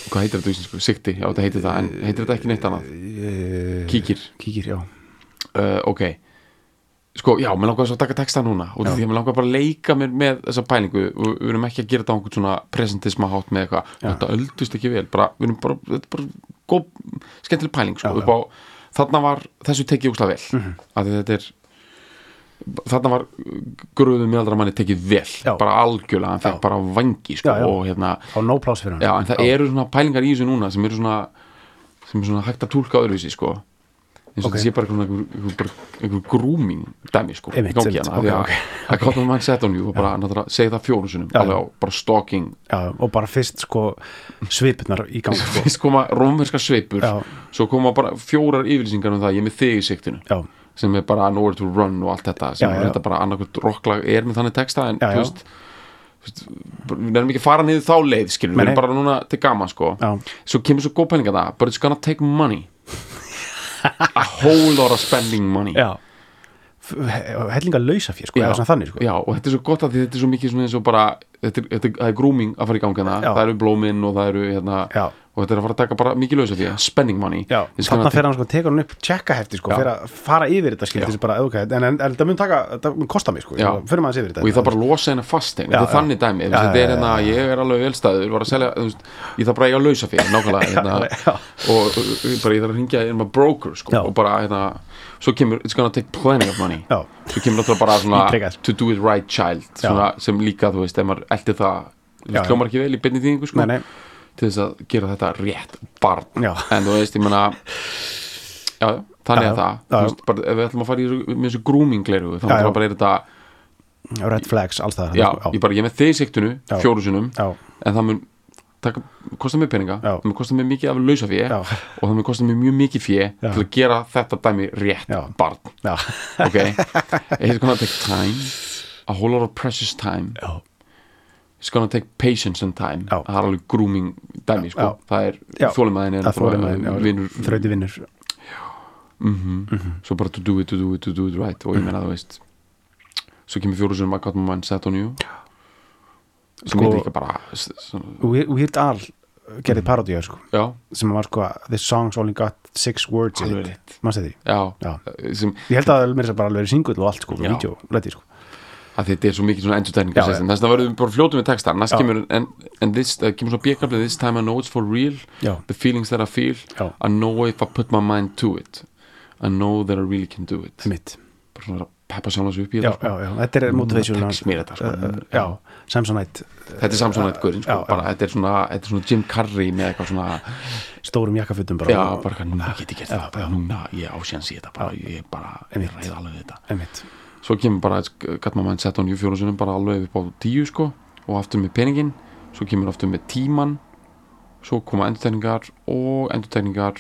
[SPEAKER 1] hvað heitir þetta íslensku, sikti, já þetta heitir það en heitir þetta ekki neitt annað, kíkir
[SPEAKER 2] Eh, kíkir, já
[SPEAKER 1] uh, ok sko, já, mér langar svo að taka texta núna og því að mér langar bara að leika mér með þessa pælingu og við erum ekki að gera þetta á einhvern svona presentisma hátt með eitthvað, þetta öldust ekki vel bara, við erum bara, þetta er bara góð, skemmtileg pæling, sko, upp á þarna var, þessu tekið úkslega vel
[SPEAKER 2] Mhm.
[SPEAKER 1] mm -hmm. að þetta er þarna var gruðum meðaldra manni tekið vel,
[SPEAKER 2] Já.
[SPEAKER 1] bara algjörlega hann fekk bara vangi, sko,
[SPEAKER 2] Já, já.
[SPEAKER 1] og hérna
[SPEAKER 2] á no pláss fyrir hann
[SPEAKER 1] já, en það eru svona pælingar í þessu núna sem eru svona sem er svona hægt að tólka öðruvísi sko eins og
[SPEAKER 2] Ok.
[SPEAKER 1] þetta sé bara einhver, einhver, einhver, einhver grúming dæmi sko
[SPEAKER 2] Einmitt,
[SPEAKER 1] gangi
[SPEAKER 2] einmitt,
[SPEAKER 1] hana
[SPEAKER 2] ok,
[SPEAKER 1] okay,
[SPEAKER 2] ok,
[SPEAKER 1] okay. að Gotham Man set on you og bara náttúrulega segja það fjórum sinum
[SPEAKER 2] Já.
[SPEAKER 1] alveg á bara stalking
[SPEAKER 2] já, og bara fyrst sko svipnar í gang sko.
[SPEAKER 1] fyrst koma rómverska sveipur
[SPEAKER 2] Já.
[SPEAKER 1] svo koma bara fjórar yfirlýsingar um það ég er með þig í siktinu
[SPEAKER 2] já,
[SPEAKER 1] sem er bara nowhere to run og allt þetta sem
[SPEAKER 2] Já,
[SPEAKER 1] já,
[SPEAKER 2] já, já.
[SPEAKER 1] þetta bara annarkvæmt rocklag er með þannig texta en
[SPEAKER 2] Já, já.
[SPEAKER 1] þú veist þú veist, bara- við erum ekki að fara niður þá leið skilur,
[SPEAKER 2] Nei,
[SPEAKER 1] við erum
[SPEAKER 2] nei.
[SPEAKER 1] bara núna til gaman sko
[SPEAKER 2] Já.
[SPEAKER 1] svo kemur svo góð penninga það but it's gonna take money a whole lot of spending money
[SPEAKER 2] já. F- he- hellinga lausa fyrir sko, eða svona þannig sko.
[SPEAKER 1] já, og þetta er svo gott að því þetta er svo mikið svona eins og bara þetta er, þetta er, það er grúming að fara í gangina
[SPEAKER 2] Já.
[SPEAKER 1] það eru blómin og það eru hérna,
[SPEAKER 2] Já.
[SPEAKER 1] og þetta er að fara að taka bara mikið lausa því spending money
[SPEAKER 2] Já,
[SPEAKER 1] It's gonna
[SPEAKER 2] þarna
[SPEAKER 1] take-
[SPEAKER 2] fer hann sko, tekur hann upp tjekkahefti sko,
[SPEAKER 1] Já.
[SPEAKER 2] fer að fara yfir þetta skil, þessi bara, ok, en, en, en þetta mun taka, þetta mun kosta mig sko,
[SPEAKER 1] Já.
[SPEAKER 2] fyrir maður yfir þetta
[SPEAKER 1] og ég þarf bara að losa hennar fastein þetta
[SPEAKER 2] já.
[SPEAKER 1] er þannig dæmi,
[SPEAKER 2] Já,
[SPEAKER 1] ja, þetta
[SPEAKER 2] já,
[SPEAKER 1] er hérna ég er alveg velstæður, var að selja þú veist, ég þarf bara að eiga að lausa fyrir, nákvæmlega hérna,
[SPEAKER 2] já.
[SPEAKER 1] og og- og bara ég þarf að ringja inn maður broker, sko,
[SPEAKER 2] Já.
[SPEAKER 1] og bara hérna svo kemur, it's gonna take plenty of money
[SPEAKER 2] Já.
[SPEAKER 1] svo kemur náttúrulega bara svona
[SPEAKER 2] Ítrekað.
[SPEAKER 1] to do it right child, svona, sem líka þú veist, ef maður eldi það, þú
[SPEAKER 2] Já,
[SPEAKER 1] veist,
[SPEAKER 2] já.
[SPEAKER 1] hljómar ekki vel í beinni þýðingu, sko
[SPEAKER 2] Nei, nei.
[SPEAKER 1] til þess að gera þetta rétt barn
[SPEAKER 2] Já.
[SPEAKER 1] en þú veist, ég meina já, já, þannig
[SPEAKER 2] Já,
[SPEAKER 1] að
[SPEAKER 2] já.
[SPEAKER 1] það, þú
[SPEAKER 2] Já, já.
[SPEAKER 1] veist, bara ef við ætlum að fara í þessu, með þessu grúming gleru, þá
[SPEAKER 2] Já, já.
[SPEAKER 1] náttúrulega bara er þetta
[SPEAKER 2] red flags, alls það
[SPEAKER 1] já, ég bara, ég er með þig í siktinu
[SPEAKER 2] Já.
[SPEAKER 1] fjóru sinum,
[SPEAKER 2] Já.
[SPEAKER 1] en það mun taka, kosta mér peninga,
[SPEAKER 2] Já.
[SPEAKER 1] það mun kosta mér mikið af lausa fjö
[SPEAKER 2] Já.
[SPEAKER 1] og það mun kosta mér mjög mikið fjö
[SPEAKER 2] Já.
[SPEAKER 1] til að gera þetta dæmi rétt
[SPEAKER 2] Já.
[SPEAKER 1] barn,
[SPEAKER 2] já,
[SPEAKER 1] ok it's gonna take time a whole lot of precious time
[SPEAKER 2] já,
[SPEAKER 1] it's gonna take patience and time
[SPEAKER 2] Já.
[SPEAKER 1] það er alveg grooming dæmi, sko
[SPEAKER 2] Já.
[SPEAKER 1] það er
[SPEAKER 2] Já.
[SPEAKER 1] þólimaðin er
[SPEAKER 2] það þólum að
[SPEAKER 1] náttúrulega
[SPEAKER 2] þinn
[SPEAKER 1] vinur, mhm.
[SPEAKER 2] þrauti vinnur mhm.
[SPEAKER 1] svo bara to do it, to do it, to do it right og ég meina, þú veist svo kemur fjóru sinum að gott mann set on you sem
[SPEAKER 2] Sko-
[SPEAKER 1] er líka bara s- svona,
[SPEAKER 2] Weird Weird Al gerði
[SPEAKER 1] Mm.
[SPEAKER 2] parodíu sko,
[SPEAKER 1] já
[SPEAKER 2] sem var sko the songs only got six words in
[SPEAKER 1] Alveg
[SPEAKER 2] it mannst þetta því?
[SPEAKER 1] já,
[SPEAKER 2] Já.
[SPEAKER 1] Sem,
[SPEAKER 2] Ég held að það meira þess að bara alveg verið singull og allt sko,
[SPEAKER 1] Já.
[SPEAKER 2] vídeo, leti sko
[SPEAKER 1] að þetta er svo mikið svona endurtegninga
[SPEAKER 2] Já,
[SPEAKER 1] þess að verðum við bara fljótum við texta næst
[SPEAKER 2] Já.
[SPEAKER 1] kemur, en, en this, það kemur svo bjökabli this time I know it's for real
[SPEAKER 2] Já.
[SPEAKER 1] the feelings that I feel
[SPEAKER 2] Já.
[SPEAKER 1] I know if I put my mind to it I know that I really can do it
[SPEAKER 2] Mitt.
[SPEAKER 1] bara svona að peppa sjálfans upp í
[SPEAKER 2] Já,
[SPEAKER 1] þetta
[SPEAKER 2] já, já, þetta er motivation
[SPEAKER 1] tekst mér þetta, sko.
[SPEAKER 2] uh, uh, Já, Samsonite eh,
[SPEAKER 1] sko. þetta er samsvonætt guðurinn sko.
[SPEAKER 2] Já, já.
[SPEAKER 1] bara þetta er, svona, þetta er svona Jim Carrey með eitthvað svona
[SPEAKER 2] stórum jakkafutum bara
[SPEAKER 1] já, bara eitthvað, núna get ég gert þetta
[SPEAKER 2] já.
[SPEAKER 1] bara, núna ég ásjans í þetta bara, ég bara ég
[SPEAKER 2] Einmitt.
[SPEAKER 1] ræð alveg við þetta
[SPEAKER 2] Einmitt.
[SPEAKER 1] svo kemur bara gatt maður mann sett á nýju fjórum sinum bara alveg upp á tíu sko og aftur með peningin, svo kemur aftur með tíman svo koma endurtegningar og endurtegningar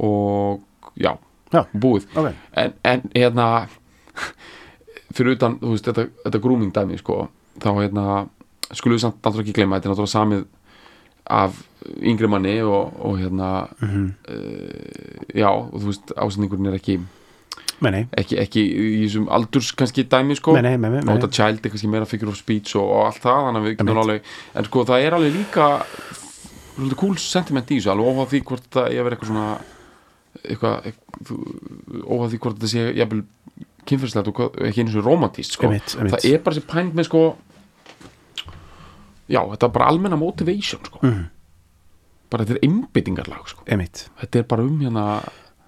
[SPEAKER 1] og já,
[SPEAKER 2] Já,
[SPEAKER 1] búið
[SPEAKER 2] ok
[SPEAKER 1] en, en hérna fyrir utan, þú veist, þetta, þetta grúming dæmi sko, þá hérna skulum við samt náttúrulega ekki gleyma, þetta er náttúrulega samið af yngri manni og, og hérna mm já, og þú veist, ásendingurinn er ekki
[SPEAKER 2] Nei, nei,
[SPEAKER 1] ekki, ekki í þessum aldurs kannski dæmi sko
[SPEAKER 2] Nei, nei, nei, nei.
[SPEAKER 1] Nota Child er kannski meira figure of speech og, og allt það þannig að við getum alveg en sko það er alveg líka svolítið cool sentiment í þessu alveg óháð því hvort það er að vera eitthvað svona eitthvað ekk- þú- óháð því hvort þetta sé jafnvel kynferðslegt og hvað- ekki einu svo romantíst sko
[SPEAKER 2] Einmitt, einmitt.
[SPEAKER 1] það er bara þessi pænt með sko já þetta er bara almenna motivation sko
[SPEAKER 2] Mhm.
[SPEAKER 1] bara þetta er einbyttingarlag sko
[SPEAKER 2] einmitt
[SPEAKER 1] þetta er bara um hérna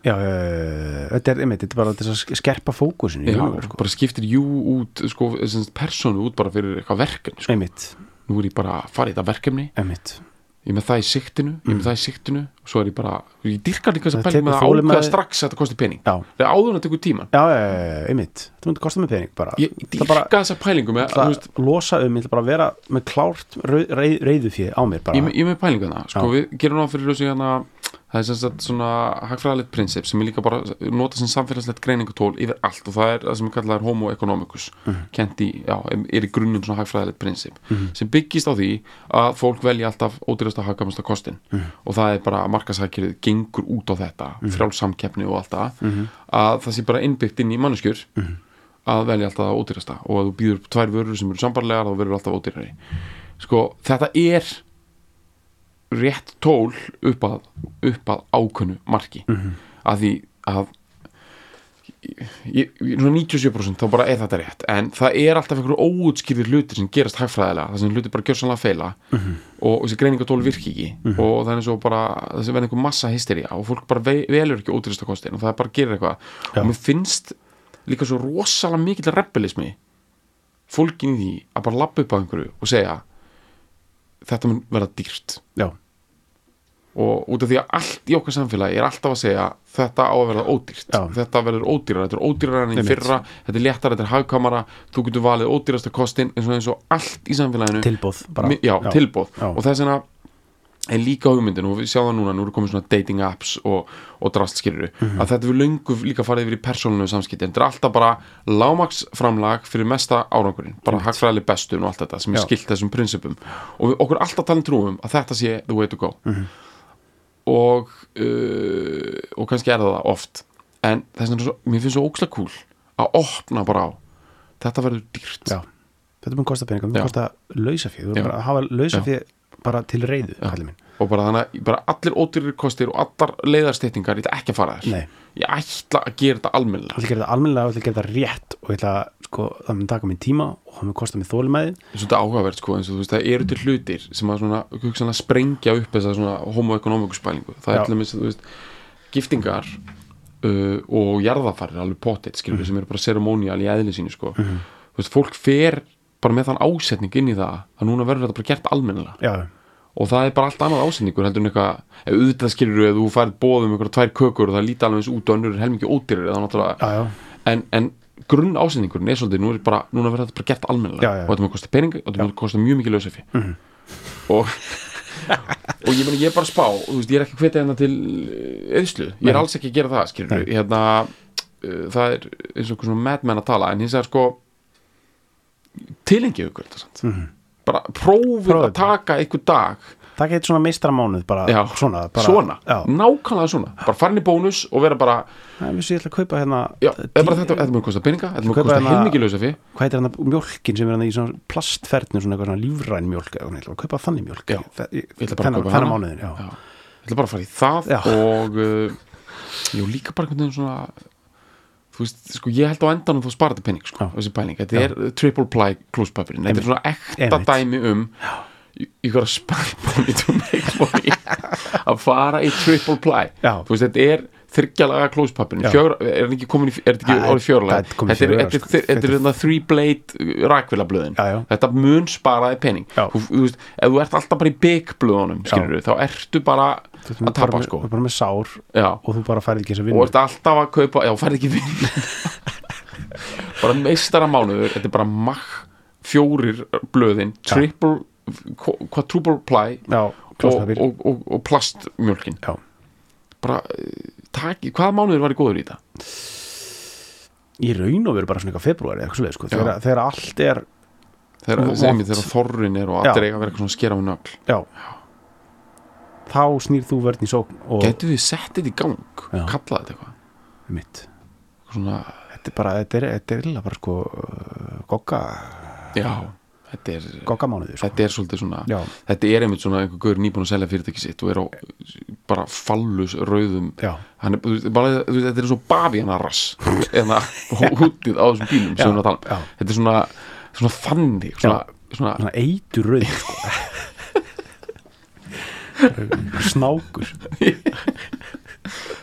[SPEAKER 2] Já, uh, þetta er einmitt, þetta er bara til þess að skerpa fókusinu í
[SPEAKER 1] Já,
[SPEAKER 2] raun og veru, sko.
[SPEAKER 1] bara skiptir jú út sko, sem sagt, persónu út bara fyrir eitthvað verkefni sko.
[SPEAKER 2] Einmitt,
[SPEAKER 1] nú er ég bara að fara í þetta verkefni
[SPEAKER 2] einmitt
[SPEAKER 1] ég er með það í siktinu, ég er með það í siktinu og svo er ég bara, ég dyrkar líka þess
[SPEAKER 2] Mm. Það
[SPEAKER 1] að pæling
[SPEAKER 2] tekur
[SPEAKER 1] með að
[SPEAKER 2] þolinmæði-
[SPEAKER 1] ákveða strax að þetta kosti pening
[SPEAKER 2] Já.
[SPEAKER 1] þegar áður en að tekur tíman
[SPEAKER 2] Já, uh, einmitt, þetta myndi kosta mig pening bara
[SPEAKER 1] ég
[SPEAKER 2] Það
[SPEAKER 1] dyrka
[SPEAKER 2] bara,
[SPEAKER 1] þessa pælingu með,
[SPEAKER 2] það
[SPEAKER 1] þú veist,
[SPEAKER 2] losa um, ég ætla bara að vera með klárt reyðu fyrir á mér bara
[SPEAKER 1] ég, ég er með pælingu það sko,
[SPEAKER 2] Já.
[SPEAKER 1] við gerum náttúrulega fyrir þessu hérna það er sem sagt svona hagfræðalegt prinsip sem er líka bara notað sem samfélagslegt greiningutól yfir allt og það er það sem er kallað er homo economicus
[SPEAKER 2] Mhm.
[SPEAKER 1] kent í, já, er í grunnum svona hagfræðalegt prinsip sem byggist á því að fólk velja alltaf ódýrasta hagkvæmasta kostin
[SPEAKER 2] Mhm.
[SPEAKER 1] og það er bara að markasækjörið gengur út á þetta, frjálsamkeppni og allt það
[SPEAKER 2] Mhm.
[SPEAKER 1] að það sé bara innbyggt inn í manneskjur að velja alltaf það ódýrasta og að þú býður upp tvær vörur sem eru sambarlegar þá verður alltaf ódýrari sko, þetta er rétt tól upp að, upp að ákönnu marki mm -hmm. að því að ég, ég, svona 97% þá bara er þetta rétt en það er alltaf einhverju óútskýrðir hlutir sem gerast hægfræðilega, það sem hlutir bara gjörsanlega feila og, og þessi greiningatól virki ekki og það er svo bara, þessi verður einhver massa hystería og fólk bara ve velur ekki ótrýsta kostin og það bara gerir eitthvað
[SPEAKER 2] Já.
[SPEAKER 1] og mér finnst líka svo rosalega mikill rebelismi fólkin í því að bara lappa upp á einhverju og segja þetta mun verða dýrt
[SPEAKER 2] Já,
[SPEAKER 1] og og út af því að allt í okkar samfélagi er alltaf að segja þetta á að verða ódýrt
[SPEAKER 2] Já.
[SPEAKER 1] þetta verður ódýrar, þetta er ódýrar enn í
[SPEAKER 2] Einmitt.
[SPEAKER 1] fyrra þetta er léttar, þetta er hagkamara þú getur valið ódýrasta kostin eins og, eins og allt í samfélaginu
[SPEAKER 2] Tilboð bara.
[SPEAKER 1] Mi- já,
[SPEAKER 2] Já.
[SPEAKER 1] tilboð
[SPEAKER 2] Já.
[SPEAKER 1] og þess vegna er líka hugmyndin og við sjáum það núna, nú eru komið svona dating apps og, og drastskýrur
[SPEAKER 2] Mhm.
[SPEAKER 1] að þetta við löngu líka farið yfir í persónunum samskipti en þetta er alltaf bara lámaksframlag fyrir mesta árangurinn, bara hagfræðileg bestun og allt þetta sem er
[SPEAKER 2] Já.
[SPEAKER 1] skilt þessum prinsipum og við okkur er alltaf talin trúum að þetta sé the way to go
[SPEAKER 2] Mhm.
[SPEAKER 1] og uh, og kannski er það það oft en þess vegna, er svo- mér finnst svo ókslega cool að opna bara á þetta verður dýrt
[SPEAKER 2] Já. Þetta mun kosta peningum,
[SPEAKER 1] Já.
[SPEAKER 2] mun kosta lausafið, þú
[SPEAKER 1] Já.
[SPEAKER 2] verður bara að hafa lausafið bara til reyðu, kallið minn.
[SPEAKER 1] og bara þannig að bara allir ódýrir kostir og allar leiðarstýttingar, ég ætla ekki að fara þess
[SPEAKER 2] Nei.
[SPEAKER 1] ég ætla að gera þetta
[SPEAKER 2] Ég
[SPEAKER 1] almennilega
[SPEAKER 2] ætla að gera þetta almennilega, ég ætla að gera þetta rétt og ég ætla að, sko, það mun taka minn tíma og það mun kosta mér þólumæði.
[SPEAKER 1] eins og þetta er áhugavert sko, eins og þú veist, það eru til hlutir sem að svona, hugsanlega sprengja upp þessa svona homoekonomikus spælingu, það
[SPEAKER 2] Já.
[SPEAKER 1] er til dæmis, þú veist giftingar uh, og jarðafarir, alveg pottet,
[SPEAKER 2] Mhm.
[SPEAKER 1] skilur sem eru bara ceremonial í eðli sínu, sko þú veist, fólk fer bara með þann ásetning inn í það, að núna verður þetta bara gert almennilega
[SPEAKER 2] Já,
[SPEAKER 1] og það er bara allt annað ásendingur heldur en eitthvað, ef auðvitað skilur þú ef þú færð boð um einhverja tvær kökur og það líti alveg eins út og önnur er helmingi ódýrir eða náttúrulega,
[SPEAKER 2] já, já,
[SPEAKER 1] en, en grunn ásendingurinn er svolítið, nú er bara, núna verður þetta bara gert almennilega
[SPEAKER 2] Já, Mhm. já.
[SPEAKER 1] og þetta maður kosti pening og þetta maður kosti mjög mikið lausafi -hmm. og og ég meni ég er bara að spá, og þú veist, ég er ekki að hvetja hérna til eðslu, ég er alls ekki að gera það skilur
[SPEAKER 2] Nei.
[SPEAKER 1] hérna uh, það er eins og einhver svona madman að tala en hins vegar sko tilengið ykkur þetta samt mm -hmm. bara prófið
[SPEAKER 2] Mhm. Prófið
[SPEAKER 1] að taka einhver dag
[SPEAKER 2] það getur svona meistaramánuð bara,
[SPEAKER 1] já,
[SPEAKER 2] svona, bara,
[SPEAKER 1] svona Mm.
[SPEAKER 2] já,
[SPEAKER 1] nákvæmlega svona, bara farin í bónus og vera bara,
[SPEAKER 2] það er mjög sér að kaupa hérna,
[SPEAKER 1] já, eða bara
[SPEAKER 2] dí-
[SPEAKER 1] þetta, þetta mjög kosta peninga þetta mjög
[SPEAKER 2] Kaupa
[SPEAKER 1] kosta
[SPEAKER 2] hérna-
[SPEAKER 1] heilmikið lausafi
[SPEAKER 2] hvað heitir hérna mjólkin sem er hérna í svona plastferðinu, svona eitthvað svona lífræn mjólk, eða eitthvað, ég ætla að kaupa þannig mjólk,
[SPEAKER 1] Já.
[SPEAKER 2] Það- ég-
[SPEAKER 1] Ég ætla bara að
[SPEAKER 2] þennan-
[SPEAKER 1] kaupa
[SPEAKER 2] þennan
[SPEAKER 1] hana.
[SPEAKER 2] mánuðin, já.
[SPEAKER 1] ég ætla bara að fara í það
[SPEAKER 2] Já.
[SPEAKER 1] og uh, jú, líka bara einhvern veginn svona þú veist, sko, ég held á endanum þú sparar þetta pening, sko,
[SPEAKER 2] Já.
[SPEAKER 1] þessi pæling þetta er uh, triple ply klúspapirinn, þetta er svona ekta
[SPEAKER 2] Einmitt.
[SPEAKER 1] dæmi um ég var að spærbóni to make money að fara í triple ply
[SPEAKER 2] Já.
[SPEAKER 1] þú veist, þetta er þryggjalaga klóspapirinn,
[SPEAKER 2] Já.
[SPEAKER 1] fjögra, er þetta ekki komin í er þetta
[SPEAKER 2] Það
[SPEAKER 1] ekki
[SPEAKER 2] er-
[SPEAKER 1] orðið fjörulega
[SPEAKER 2] það er komið
[SPEAKER 1] þetta er,
[SPEAKER 2] fjögurlega,
[SPEAKER 1] þetta er,
[SPEAKER 2] sko.
[SPEAKER 1] þetta er, þetta er þetta three blade rakvilablöðin
[SPEAKER 2] Já, já.
[SPEAKER 1] þetta mun sparaði pening
[SPEAKER 2] Já.
[SPEAKER 1] þú, þú veist, ef þú ert alltaf bara í byggblöðunum skilur þá ertu bara
[SPEAKER 2] Þú ert
[SPEAKER 1] að
[SPEAKER 2] bara
[SPEAKER 1] tapa
[SPEAKER 2] með-
[SPEAKER 1] sko
[SPEAKER 2] þú ert bara með sár
[SPEAKER 1] já,
[SPEAKER 2] og þú bara færið ekki þess að
[SPEAKER 1] og
[SPEAKER 2] vinna
[SPEAKER 1] ert alltaf að kaupa já, færð ekki vinn bara meistara mánuður, þetta er bara mach fjórir blöðin triple, qu- quadruple ply
[SPEAKER 2] já,
[SPEAKER 1] og,
[SPEAKER 2] klóspapír
[SPEAKER 1] og, og, og plastmjölkin
[SPEAKER 2] Já.
[SPEAKER 1] bara, eh, taki, hvaða mánuður var í góður í þetta?
[SPEAKER 2] í raun og veru bara svona eitthvað februari eitthvað svoleið, sko,
[SPEAKER 1] Já.
[SPEAKER 2] þegar, þegar allt er
[SPEAKER 1] þegar,
[SPEAKER 2] Vont.
[SPEAKER 1] sem, þegar þorrin er og
[SPEAKER 2] Já.
[SPEAKER 1] allir eiga að vera eitthvað svona að skera á nögl
[SPEAKER 2] já, þá snýr þú verðin í sókn og
[SPEAKER 1] getur við sett þetta í gang
[SPEAKER 2] Já.
[SPEAKER 1] kallaði þetta eitthvað
[SPEAKER 2] mitt
[SPEAKER 1] Eitthvað svona
[SPEAKER 2] þetta er bara, þetta er, þetta er illa bara sko uh, gogga,
[SPEAKER 1] Já, þetta er,
[SPEAKER 2] goggamánuður sko.
[SPEAKER 1] þetta er svolítið svona
[SPEAKER 2] Já.
[SPEAKER 1] Þetta er einmitt svona einhver gaur nýbúin að selja fyrirtæki sitt og er á bara fallus rauðum
[SPEAKER 2] Já.
[SPEAKER 1] Hann er, þú veist, bara, þú veist, Þetta er svo babjanarras eða húttið hérna, á þessum bílum sem
[SPEAKER 2] Já,
[SPEAKER 1] við erum að tala
[SPEAKER 2] já.
[SPEAKER 1] um. Þetta er svona, svona þannig svona, svona,
[SPEAKER 2] svona eitur rauð sko. snákur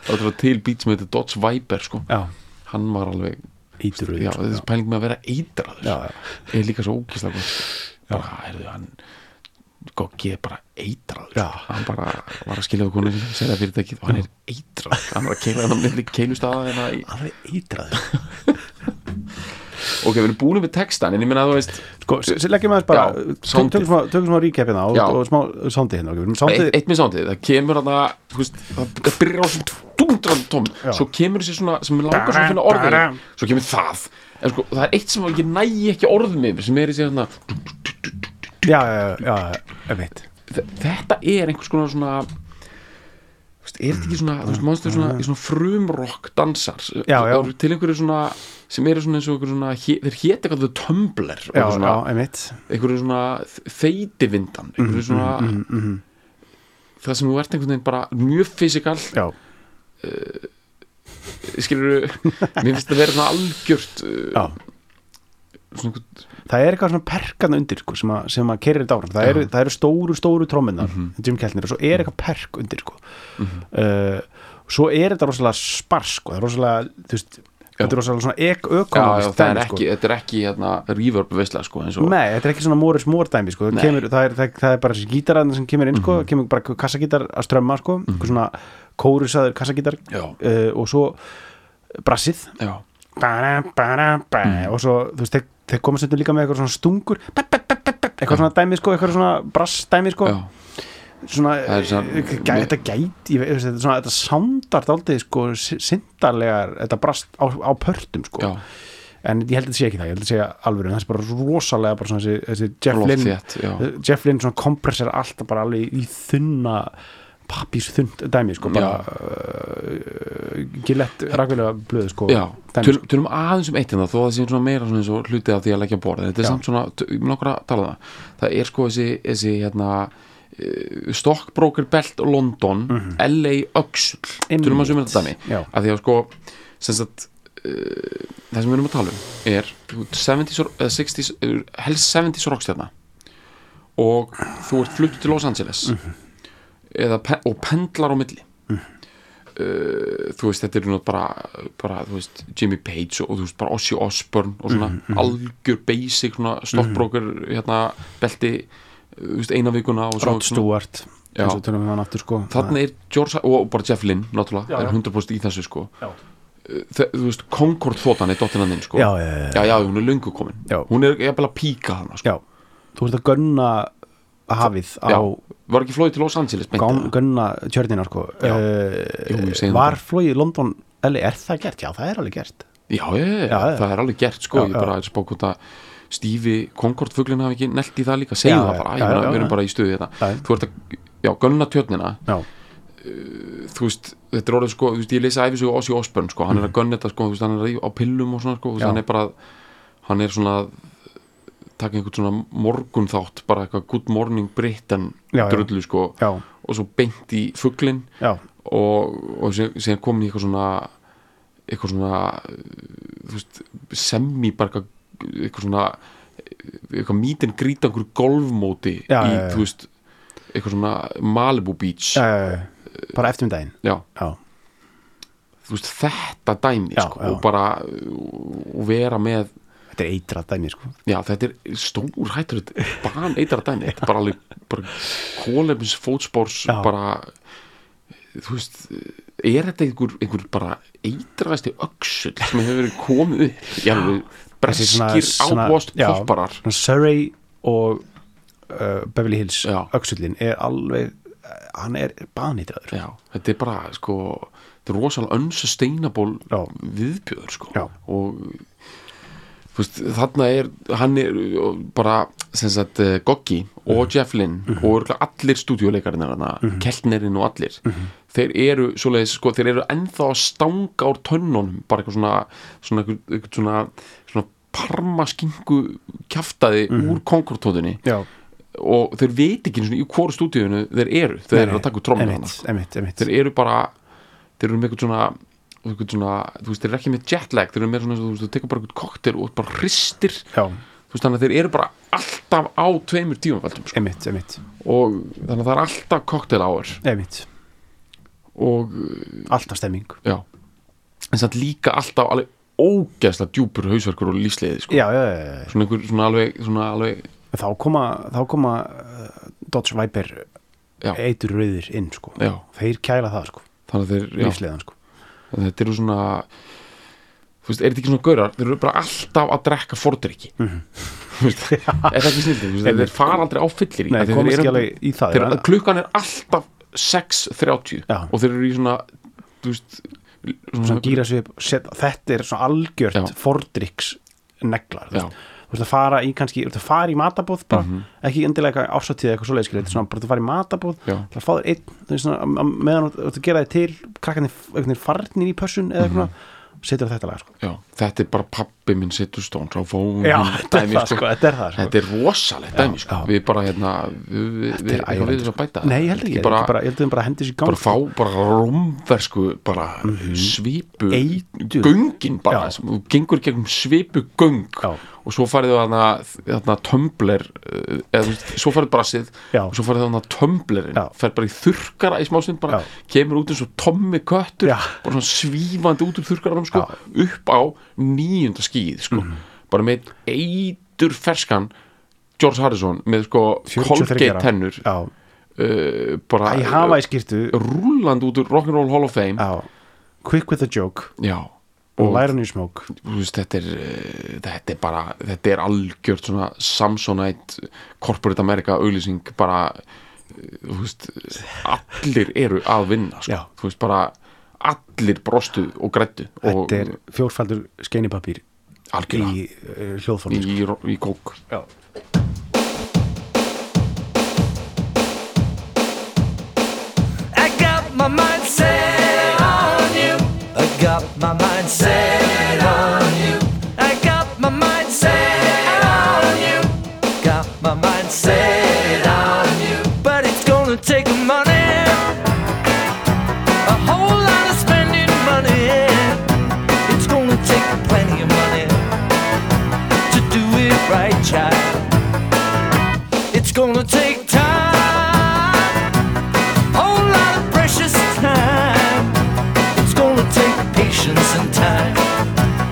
[SPEAKER 1] það var til bít sem heitir Dodge Viper sko.
[SPEAKER 2] já,
[SPEAKER 1] Hann var alveg
[SPEAKER 2] eitur rauð
[SPEAKER 1] Já, þessi pæling með að vera eitraður
[SPEAKER 2] já, já,
[SPEAKER 1] er líka svo ókislega gott bara, heyrðu, hann Goggi er bara eitraður
[SPEAKER 2] Já.
[SPEAKER 1] hann bara var að skilja á konu sinni segja fyrirtækið og hann er eitraður hann var að keila hann á milli keilustaða hérna í...
[SPEAKER 2] alveg eitrað
[SPEAKER 1] ok, við erum búin með textan en ég meina að þú veist
[SPEAKER 2] sko, s- s- leggjum aðeins bara
[SPEAKER 1] Já,
[SPEAKER 2] tök-
[SPEAKER 1] soundið.
[SPEAKER 2] tökum smá, tökum smá recap hérna og,
[SPEAKER 1] Já.
[SPEAKER 2] og smá soundið hérna ok, við erum soundið
[SPEAKER 1] eitt, eitt með sándið, það kemur hann að þú veist, það það byrjar á þessum dúndrand tóm
[SPEAKER 2] Já.
[SPEAKER 1] svo kemur þessi svona sem er langar svona að finna orðið svo kemur það en sko, það er eitt sem ég næ ekki orðum yfir sem er þessi hérna
[SPEAKER 2] já, já, já, já, einmitt
[SPEAKER 1] þe- þetta er einhvers konar svona þú veist, er þetta ekki svona þú veist, mannstu svona, í svona frumrock dansar
[SPEAKER 2] Já, já.
[SPEAKER 1] Og til einhverju svona sem eru svona eins og einhverju svona hé- þeir héti eitthvað The Tumblr og
[SPEAKER 2] já,
[SPEAKER 1] einhverju
[SPEAKER 2] já,
[SPEAKER 1] svona,
[SPEAKER 2] einmitt
[SPEAKER 1] einhverju svona þeytivindan einhverju
[SPEAKER 2] Mm,
[SPEAKER 1] svona það sem þú ert einhvern veginn bara mjög fysikal
[SPEAKER 2] já,
[SPEAKER 1] skilur mér finnst það vera svona algjört uh,
[SPEAKER 2] já
[SPEAKER 1] svona einhvern
[SPEAKER 2] það er eitthvað svona perkana undir sko, sem, að, sem að kerir þetta áfram það eru, það eru stóru, stóru tróminnar
[SPEAKER 1] Mhm.
[SPEAKER 2] Jim Keltner og svo er eitthvað perk Eh, undir sko. uh, svo er þetta rosalega spars sko. það er rosalega, þú veist þetta er rosalega svona ek
[SPEAKER 1] já, já,
[SPEAKER 2] ökonomist
[SPEAKER 1] það er
[SPEAKER 2] dæmi, sko.
[SPEAKER 1] ekki, þetta er ekki hérna, reverb veistla sko, eins og
[SPEAKER 2] Nei, þetta er ekki svona Morris Moore dæmi sko. það, kemur, það, er, það, það er bara þessi gítararna sem kemur inn sko.
[SPEAKER 1] Mhm.
[SPEAKER 2] kemur bara kassagítar að strömma sko. mm svona kórusaður kassagítar
[SPEAKER 1] Já.
[SPEAKER 2] uh, og svo brassið
[SPEAKER 1] já,
[SPEAKER 2] bara, bara, bara,
[SPEAKER 1] Mm.
[SPEAKER 2] og svo þú veist, þeir, þeir koma stundum líka með eitthvað svona stungur ba, ba, ba, ba, ba, eitthvað svona dæmi sko, eitthvað svona brass dæmi sko.
[SPEAKER 1] já,
[SPEAKER 2] svona,
[SPEAKER 1] Það er svona-
[SPEAKER 2] eh, gæ, þetta gæti ég veit, þú veist, þetta, svona, þetta soundar daldið sko, sindarlegar, þetta brast á, á pörtum sko
[SPEAKER 1] já
[SPEAKER 2] en ég held að þetta sé ekki það, ég held að þetta sé alvöru en það er bara rosalega bara svona þessi, þessi Jeff Lynn
[SPEAKER 1] Loftþétt, já.
[SPEAKER 2] Jeff Lynn svona kompressir alltaf bara alveg í þunna pappís þund dæmi sko bara uh, gillett rakvilega blöðu sko
[SPEAKER 1] Já,
[SPEAKER 2] dæmi,
[SPEAKER 1] töl- tölum aðeins um eitt en það þó að það sé svona meira svona eins og hluti af því að leggja á borð þetta er
[SPEAKER 2] Já.
[SPEAKER 1] samt svona, t- ég mun okkur að tala um það það er sko þessi, þessi hérna eh, Stockbroker Belt London LA Öxl
[SPEAKER 2] Mhm. Einmitt.
[SPEAKER 1] tölum að sumir þetta dæmi
[SPEAKER 2] Já.
[SPEAKER 1] að því að sko sem sagt, uh, það sem við erum að tala um er 70s, or- eða 60s, eh, helst 70s rockstjarna og þú ert fluttur til Los Angeles
[SPEAKER 2] Mhm.
[SPEAKER 1] eða, pe- og pendlar á milli uh, þú veist, þetta er nú bara, bara þú veist, Jimmy Page og, og þú veist, bara Ozzy Osbourne og svona
[SPEAKER 2] Mhm,
[SPEAKER 1] algjör basic, svona stockbroker hérna, belti þú veist, eina vikuna og
[SPEAKER 2] Rod
[SPEAKER 1] svona,
[SPEAKER 2] Stewart
[SPEAKER 1] Já.
[SPEAKER 2] eins og tölum við hann aftur sko
[SPEAKER 1] þannig er George og bara Jeff Lynn, náttúrulega,
[SPEAKER 2] Já,
[SPEAKER 1] er
[SPEAKER 2] já.
[SPEAKER 1] 100% í þessu sko
[SPEAKER 2] Já.
[SPEAKER 1] Þe, þú veist, Concord þóttan er dottinan þinn sko
[SPEAKER 2] Já, já, já,
[SPEAKER 1] já, hún er löngu komin
[SPEAKER 2] Já.
[SPEAKER 1] hún er jafnvel að píka hana sko.
[SPEAKER 2] já, þú ert að gunna hafið á
[SPEAKER 1] var ekki flóið til Los Angeles beint
[SPEAKER 2] gán,
[SPEAKER 1] eða?
[SPEAKER 2] gunna tjörnina sko
[SPEAKER 1] Já. Jú, ég
[SPEAKER 2] uh,
[SPEAKER 1] segi það
[SPEAKER 2] var
[SPEAKER 1] bara.
[SPEAKER 2] flóið í London Eller, er það gert? Já, það er alveg gert
[SPEAKER 1] já, já, já, já,
[SPEAKER 2] Já, já.
[SPEAKER 1] það er alveg gert sko,
[SPEAKER 2] Já,
[SPEAKER 1] ég
[SPEAKER 2] já.
[SPEAKER 1] bara er spákvæmt að stífi Concord fuglinn hafi ekki nelt í það líka segja
[SPEAKER 2] Já,
[SPEAKER 1] það
[SPEAKER 2] já,
[SPEAKER 1] bara, ég
[SPEAKER 2] já,
[SPEAKER 1] meina,
[SPEAKER 2] já,
[SPEAKER 1] við erum
[SPEAKER 2] já.
[SPEAKER 1] bara í stuði þetta
[SPEAKER 2] Já.
[SPEAKER 1] þú ert að, já, gunna tjörnina
[SPEAKER 2] Já,
[SPEAKER 1] þú veist, þetta er orðið sko, þú veist, ég lesa æfisögu Ossi Osborn, sko, hann er að gunna þetta sko, þú veist, hann er í- á pillum og svona, sko, þú veist,
[SPEAKER 2] Mhm. Já.
[SPEAKER 1] hann er bara hann er svona að taka einhvern svona morgunþátt, bara eitthvað good morning Britain
[SPEAKER 2] Já, já.
[SPEAKER 1] drullu, sko,
[SPEAKER 2] já,
[SPEAKER 1] og svo beint í fuglinn
[SPEAKER 2] já,
[SPEAKER 1] og, og sem, sem komin í eitthvað svona eitthvað svona uh, þú veist, semi bara eitthvað, eitthvað svona eh, eitthvað mítinn grýta einhver golfmóti
[SPEAKER 2] Já,
[SPEAKER 1] í,
[SPEAKER 2] já, já.
[SPEAKER 1] þú veist eitthvað svona Malibu Beach
[SPEAKER 2] já, já, já. bara eftir um daginn
[SPEAKER 1] Já,
[SPEAKER 2] Já,
[SPEAKER 1] þú veist, þetta dæmi
[SPEAKER 2] Já,
[SPEAKER 1] sko,
[SPEAKER 2] já.
[SPEAKER 1] og bara uh, og vera með
[SPEAKER 2] þetta er eitrað dæmi sko
[SPEAKER 1] Já, þetta er stór hættur bara neitara dæmi, þetta er bara alveg bara kólefins fótspórs
[SPEAKER 2] Já.
[SPEAKER 1] bara þú veist, er þetta einhver, einhver bara eitraðasti öxull sem hefur verið komið upp? já, við
[SPEAKER 2] Þessi svona-
[SPEAKER 1] breskir
[SPEAKER 2] svona-
[SPEAKER 1] ábúast
[SPEAKER 2] já,
[SPEAKER 1] popparar
[SPEAKER 2] svona Surrey og uh, Beverly Hills
[SPEAKER 1] Já.
[SPEAKER 2] Öxullin er alveg eh, hann er banýtraður
[SPEAKER 1] já, þetta er bara sko, þetta er rosalega unsustainable
[SPEAKER 2] Já.
[SPEAKER 1] viðbjöður sko
[SPEAKER 2] Já.
[SPEAKER 1] og þú veist, þarna er hann er bara sem sagt eh, Goggi
[SPEAKER 2] Mhm.
[SPEAKER 1] og Jeff Lynn og örugglega allir stúdíuleikarinn þarna, mm Keltnerinn og allir
[SPEAKER 2] Mhm.
[SPEAKER 1] þeir eru svoleiðis, sko, þeir eru ennþá að stanga úr tönnunum bara eitthvað svona svona, eitthvað, eitthvað svona, svona parmaskingu kjaftaði úr konkurtóðinni
[SPEAKER 2] Mhm. Já,
[SPEAKER 1] og þeir veit ekki einu sinni í hvoru stúdíunum þeir eru, þeir eru að taka úr tromminu hana
[SPEAKER 2] emitt, emitt, emitt.
[SPEAKER 1] þeir eru bara þeir eru með eitthvað svona, eitthvað svona þú veist, þeir eru ekki með jetlag, þeir eru með svona þú veist, þú tekur bara eitthvað koktel og bara hristir
[SPEAKER 2] Já,
[SPEAKER 1] þú veist, þannig að þeir eru bara alltaf á tveimur tímafaldum, sko.
[SPEAKER 2] emitt, emitt,
[SPEAKER 1] og þannig að það er alltaf koktel áur
[SPEAKER 2] emitt
[SPEAKER 1] og,
[SPEAKER 2] Alltaf stemming
[SPEAKER 1] já en samt líka alltaf alveg ógeðslega djúpur hausverkur og lífsleiði, sko
[SPEAKER 2] Já, já, já, já, já.
[SPEAKER 1] svona einhver, svona alveg, svona alveg
[SPEAKER 2] Þá koma, þá koma uh, Dodge Viper
[SPEAKER 1] Já.
[SPEAKER 2] eitur rauðir inn sko
[SPEAKER 1] Já.
[SPEAKER 2] Þeir kæla það sko,
[SPEAKER 1] þannig að þeir, já,
[SPEAKER 2] lífsleðan sko
[SPEAKER 1] þetta eru svona þú veist, er þetta ekki svona gaurar þeir eru bara alltaf að drekka fordrykki mm
[SPEAKER 2] Mhm.
[SPEAKER 1] -hmm. er það ekki snildið þeir fara aldrei á fyllir
[SPEAKER 2] Nei, komast ekki alveg í það
[SPEAKER 1] þeir,
[SPEAKER 2] en-
[SPEAKER 1] klukkan er alltaf 6.30
[SPEAKER 2] Já.
[SPEAKER 1] og þeir eru í svona þú veist
[SPEAKER 2] svona gýra sig upp set, þetta er svona algjört
[SPEAKER 1] Já.
[SPEAKER 2] fordrykks neglar þú
[SPEAKER 1] Já. Mhm.
[SPEAKER 2] veist. þú veist að fara í kannski, þú veist að fara í matabóð bara, ekki endilega eitthvað ásatið eitthvað svoleiðis skilur, þetta er svona bara þú fara í matabóð
[SPEAKER 1] Já.
[SPEAKER 2] þú ætlar að fá þér einn, þú veist svona á- á meðan þú ert að gera þið til, krakkarnir einhvern veginn farnir í pössun
[SPEAKER 1] Mhm.
[SPEAKER 2] eða eitthvað, setur á þetta lag sko.
[SPEAKER 1] já, þetta er bara pappi minn sittur stóns á fóun
[SPEAKER 2] Já, þetta er það, sko, þetta er það, sko.
[SPEAKER 1] þetta er rosalegt dæmi sko.
[SPEAKER 2] já.
[SPEAKER 1] við bara hérna við, við, við,
[SPEAKER 2] Þetta er
[SPEAKER 1] eitthvað við
[SPEAKER 2] ægilegt,
[SPEAKER 1] þess að bæta
[SPEAKER 2] nei, ég held ekki, ég
[SPEAKER 1] bara,
[SPEAKER 2] held bara, ég held að þeim bara hendi sér í gang
[SPEAKER 1] bara fá bara rómversku bara svipu
[SPEAKER 2] Mhm. Eitur.
[SPEAKER 1] göngin bara,
[SPEAKER 2] Já.
[SPEAKER 1] sem þú gengur gegnum svipu göng
[SPEAKER 2] Já.
[SPEAKER 1] og og svo færðu þarna, þarna tumbler eh, eða þú veist, svo færðu brassið
[SPEAKER 2] Já.
[SPEAKER 1] og svo færðu þarna tumblerinn
[SPEAKER 2] Já.
[SPEAKER 1] fer bara í þurrkara í smásinn bara
[SPEAKER 2] Já.
[SPEAKER 1] kemur út eins og tommi köttur
[SPEAKER 2] Já.
[SPEAKER 1] bara svona svífandi út úr þurrkaranum sko, upp á nýjunda skíð sko,
[SPEAKER 2] Mhm.
[SPEAKER 1] bara með eitur ferskan George Harrison með sko
[SPEAKER 2] 43 ára.
[SPEAKER 1] Colgate tennur
[SPEAKER 2] Já,
[SPEAKER 1] uh, bara
[SPEAKER 2] í Hawaii skýrtu
[SPEAKER 1] rúland út úr Rock'n'Roll Hall of Fame
[SPEAKER 2] Já, quick with a joke
[SPEAKER 1] já
[SPEAKER 2] og læra nýr smók
[SPEAKER 1] þú veist, þetta er eh, þetta er bara, þetta er algjört svona Samsonite Corporate America auglýsing bara eh, þú veist, allir eru að vinna, sko,
[SPEAKER 2] Já.
[SPEAKER 1] þú veist, bara allir brostu og grættu og
[SPEAKER 2] Þetta er fjórfaldur skeinipapír
[SPEAKER 1] algjörlega í,
[SPEAKER 2] í uh, hljóðformi
[SPEAKER 1] í, í kók
[SPEAKER 2] Já.
[SPEAKER 4] I got my mind set on you. I got my mind set on you. I got my mind set on you. Got my mind set on you. But it's gonna take money. A whole lot of spending money. It's gonna take plenty of money to do it right, child. It's gonna take time whole lot of precious time. It's gonna take patience and time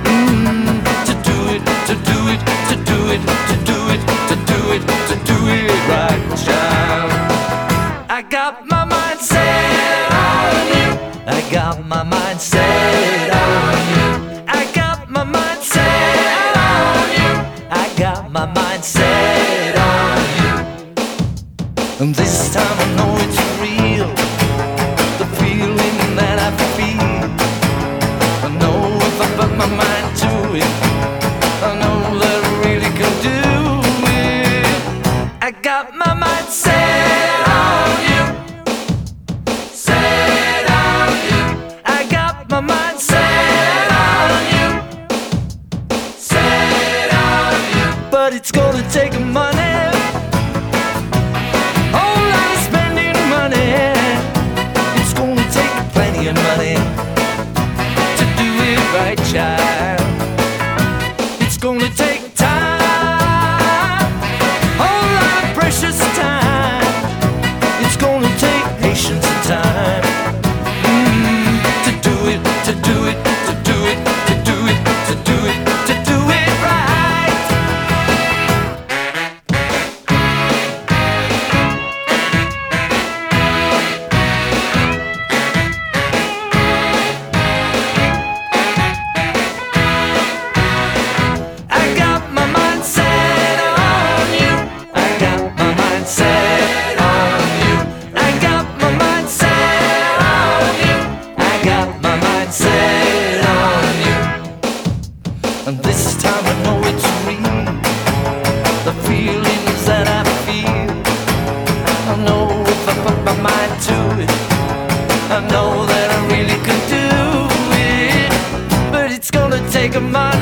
[SPEAKER 4] Mm, to do it, to do it, to do it, to do it, to do it, to do it right, child. I got my mind set on you. I got my mind set on you. I got my mind set on you. I got my mind set on you. And this time I know it's real. The feeling that I feel. I know if I put my mind to it, I know that I really can do it. I got my mind set on you. Set on you. I got my mind set on you. Set on you. But it's gonna take money. Whole lot of spending money. It's gonna take plenty of money to do it right, child. It's gonna take time, whole lot of precious time. It's gonna take patience and time Mm, to do it, to do it, to do it, to do it, to do it, to do it right. I got my mind set on you. I got my mind set on you. I got my mind set on you. I got my mind set on you. And this time I know it's real. The feelings that I feel. I know if I put my mind to it. I know that I really could do it. But it's gonna take a mind.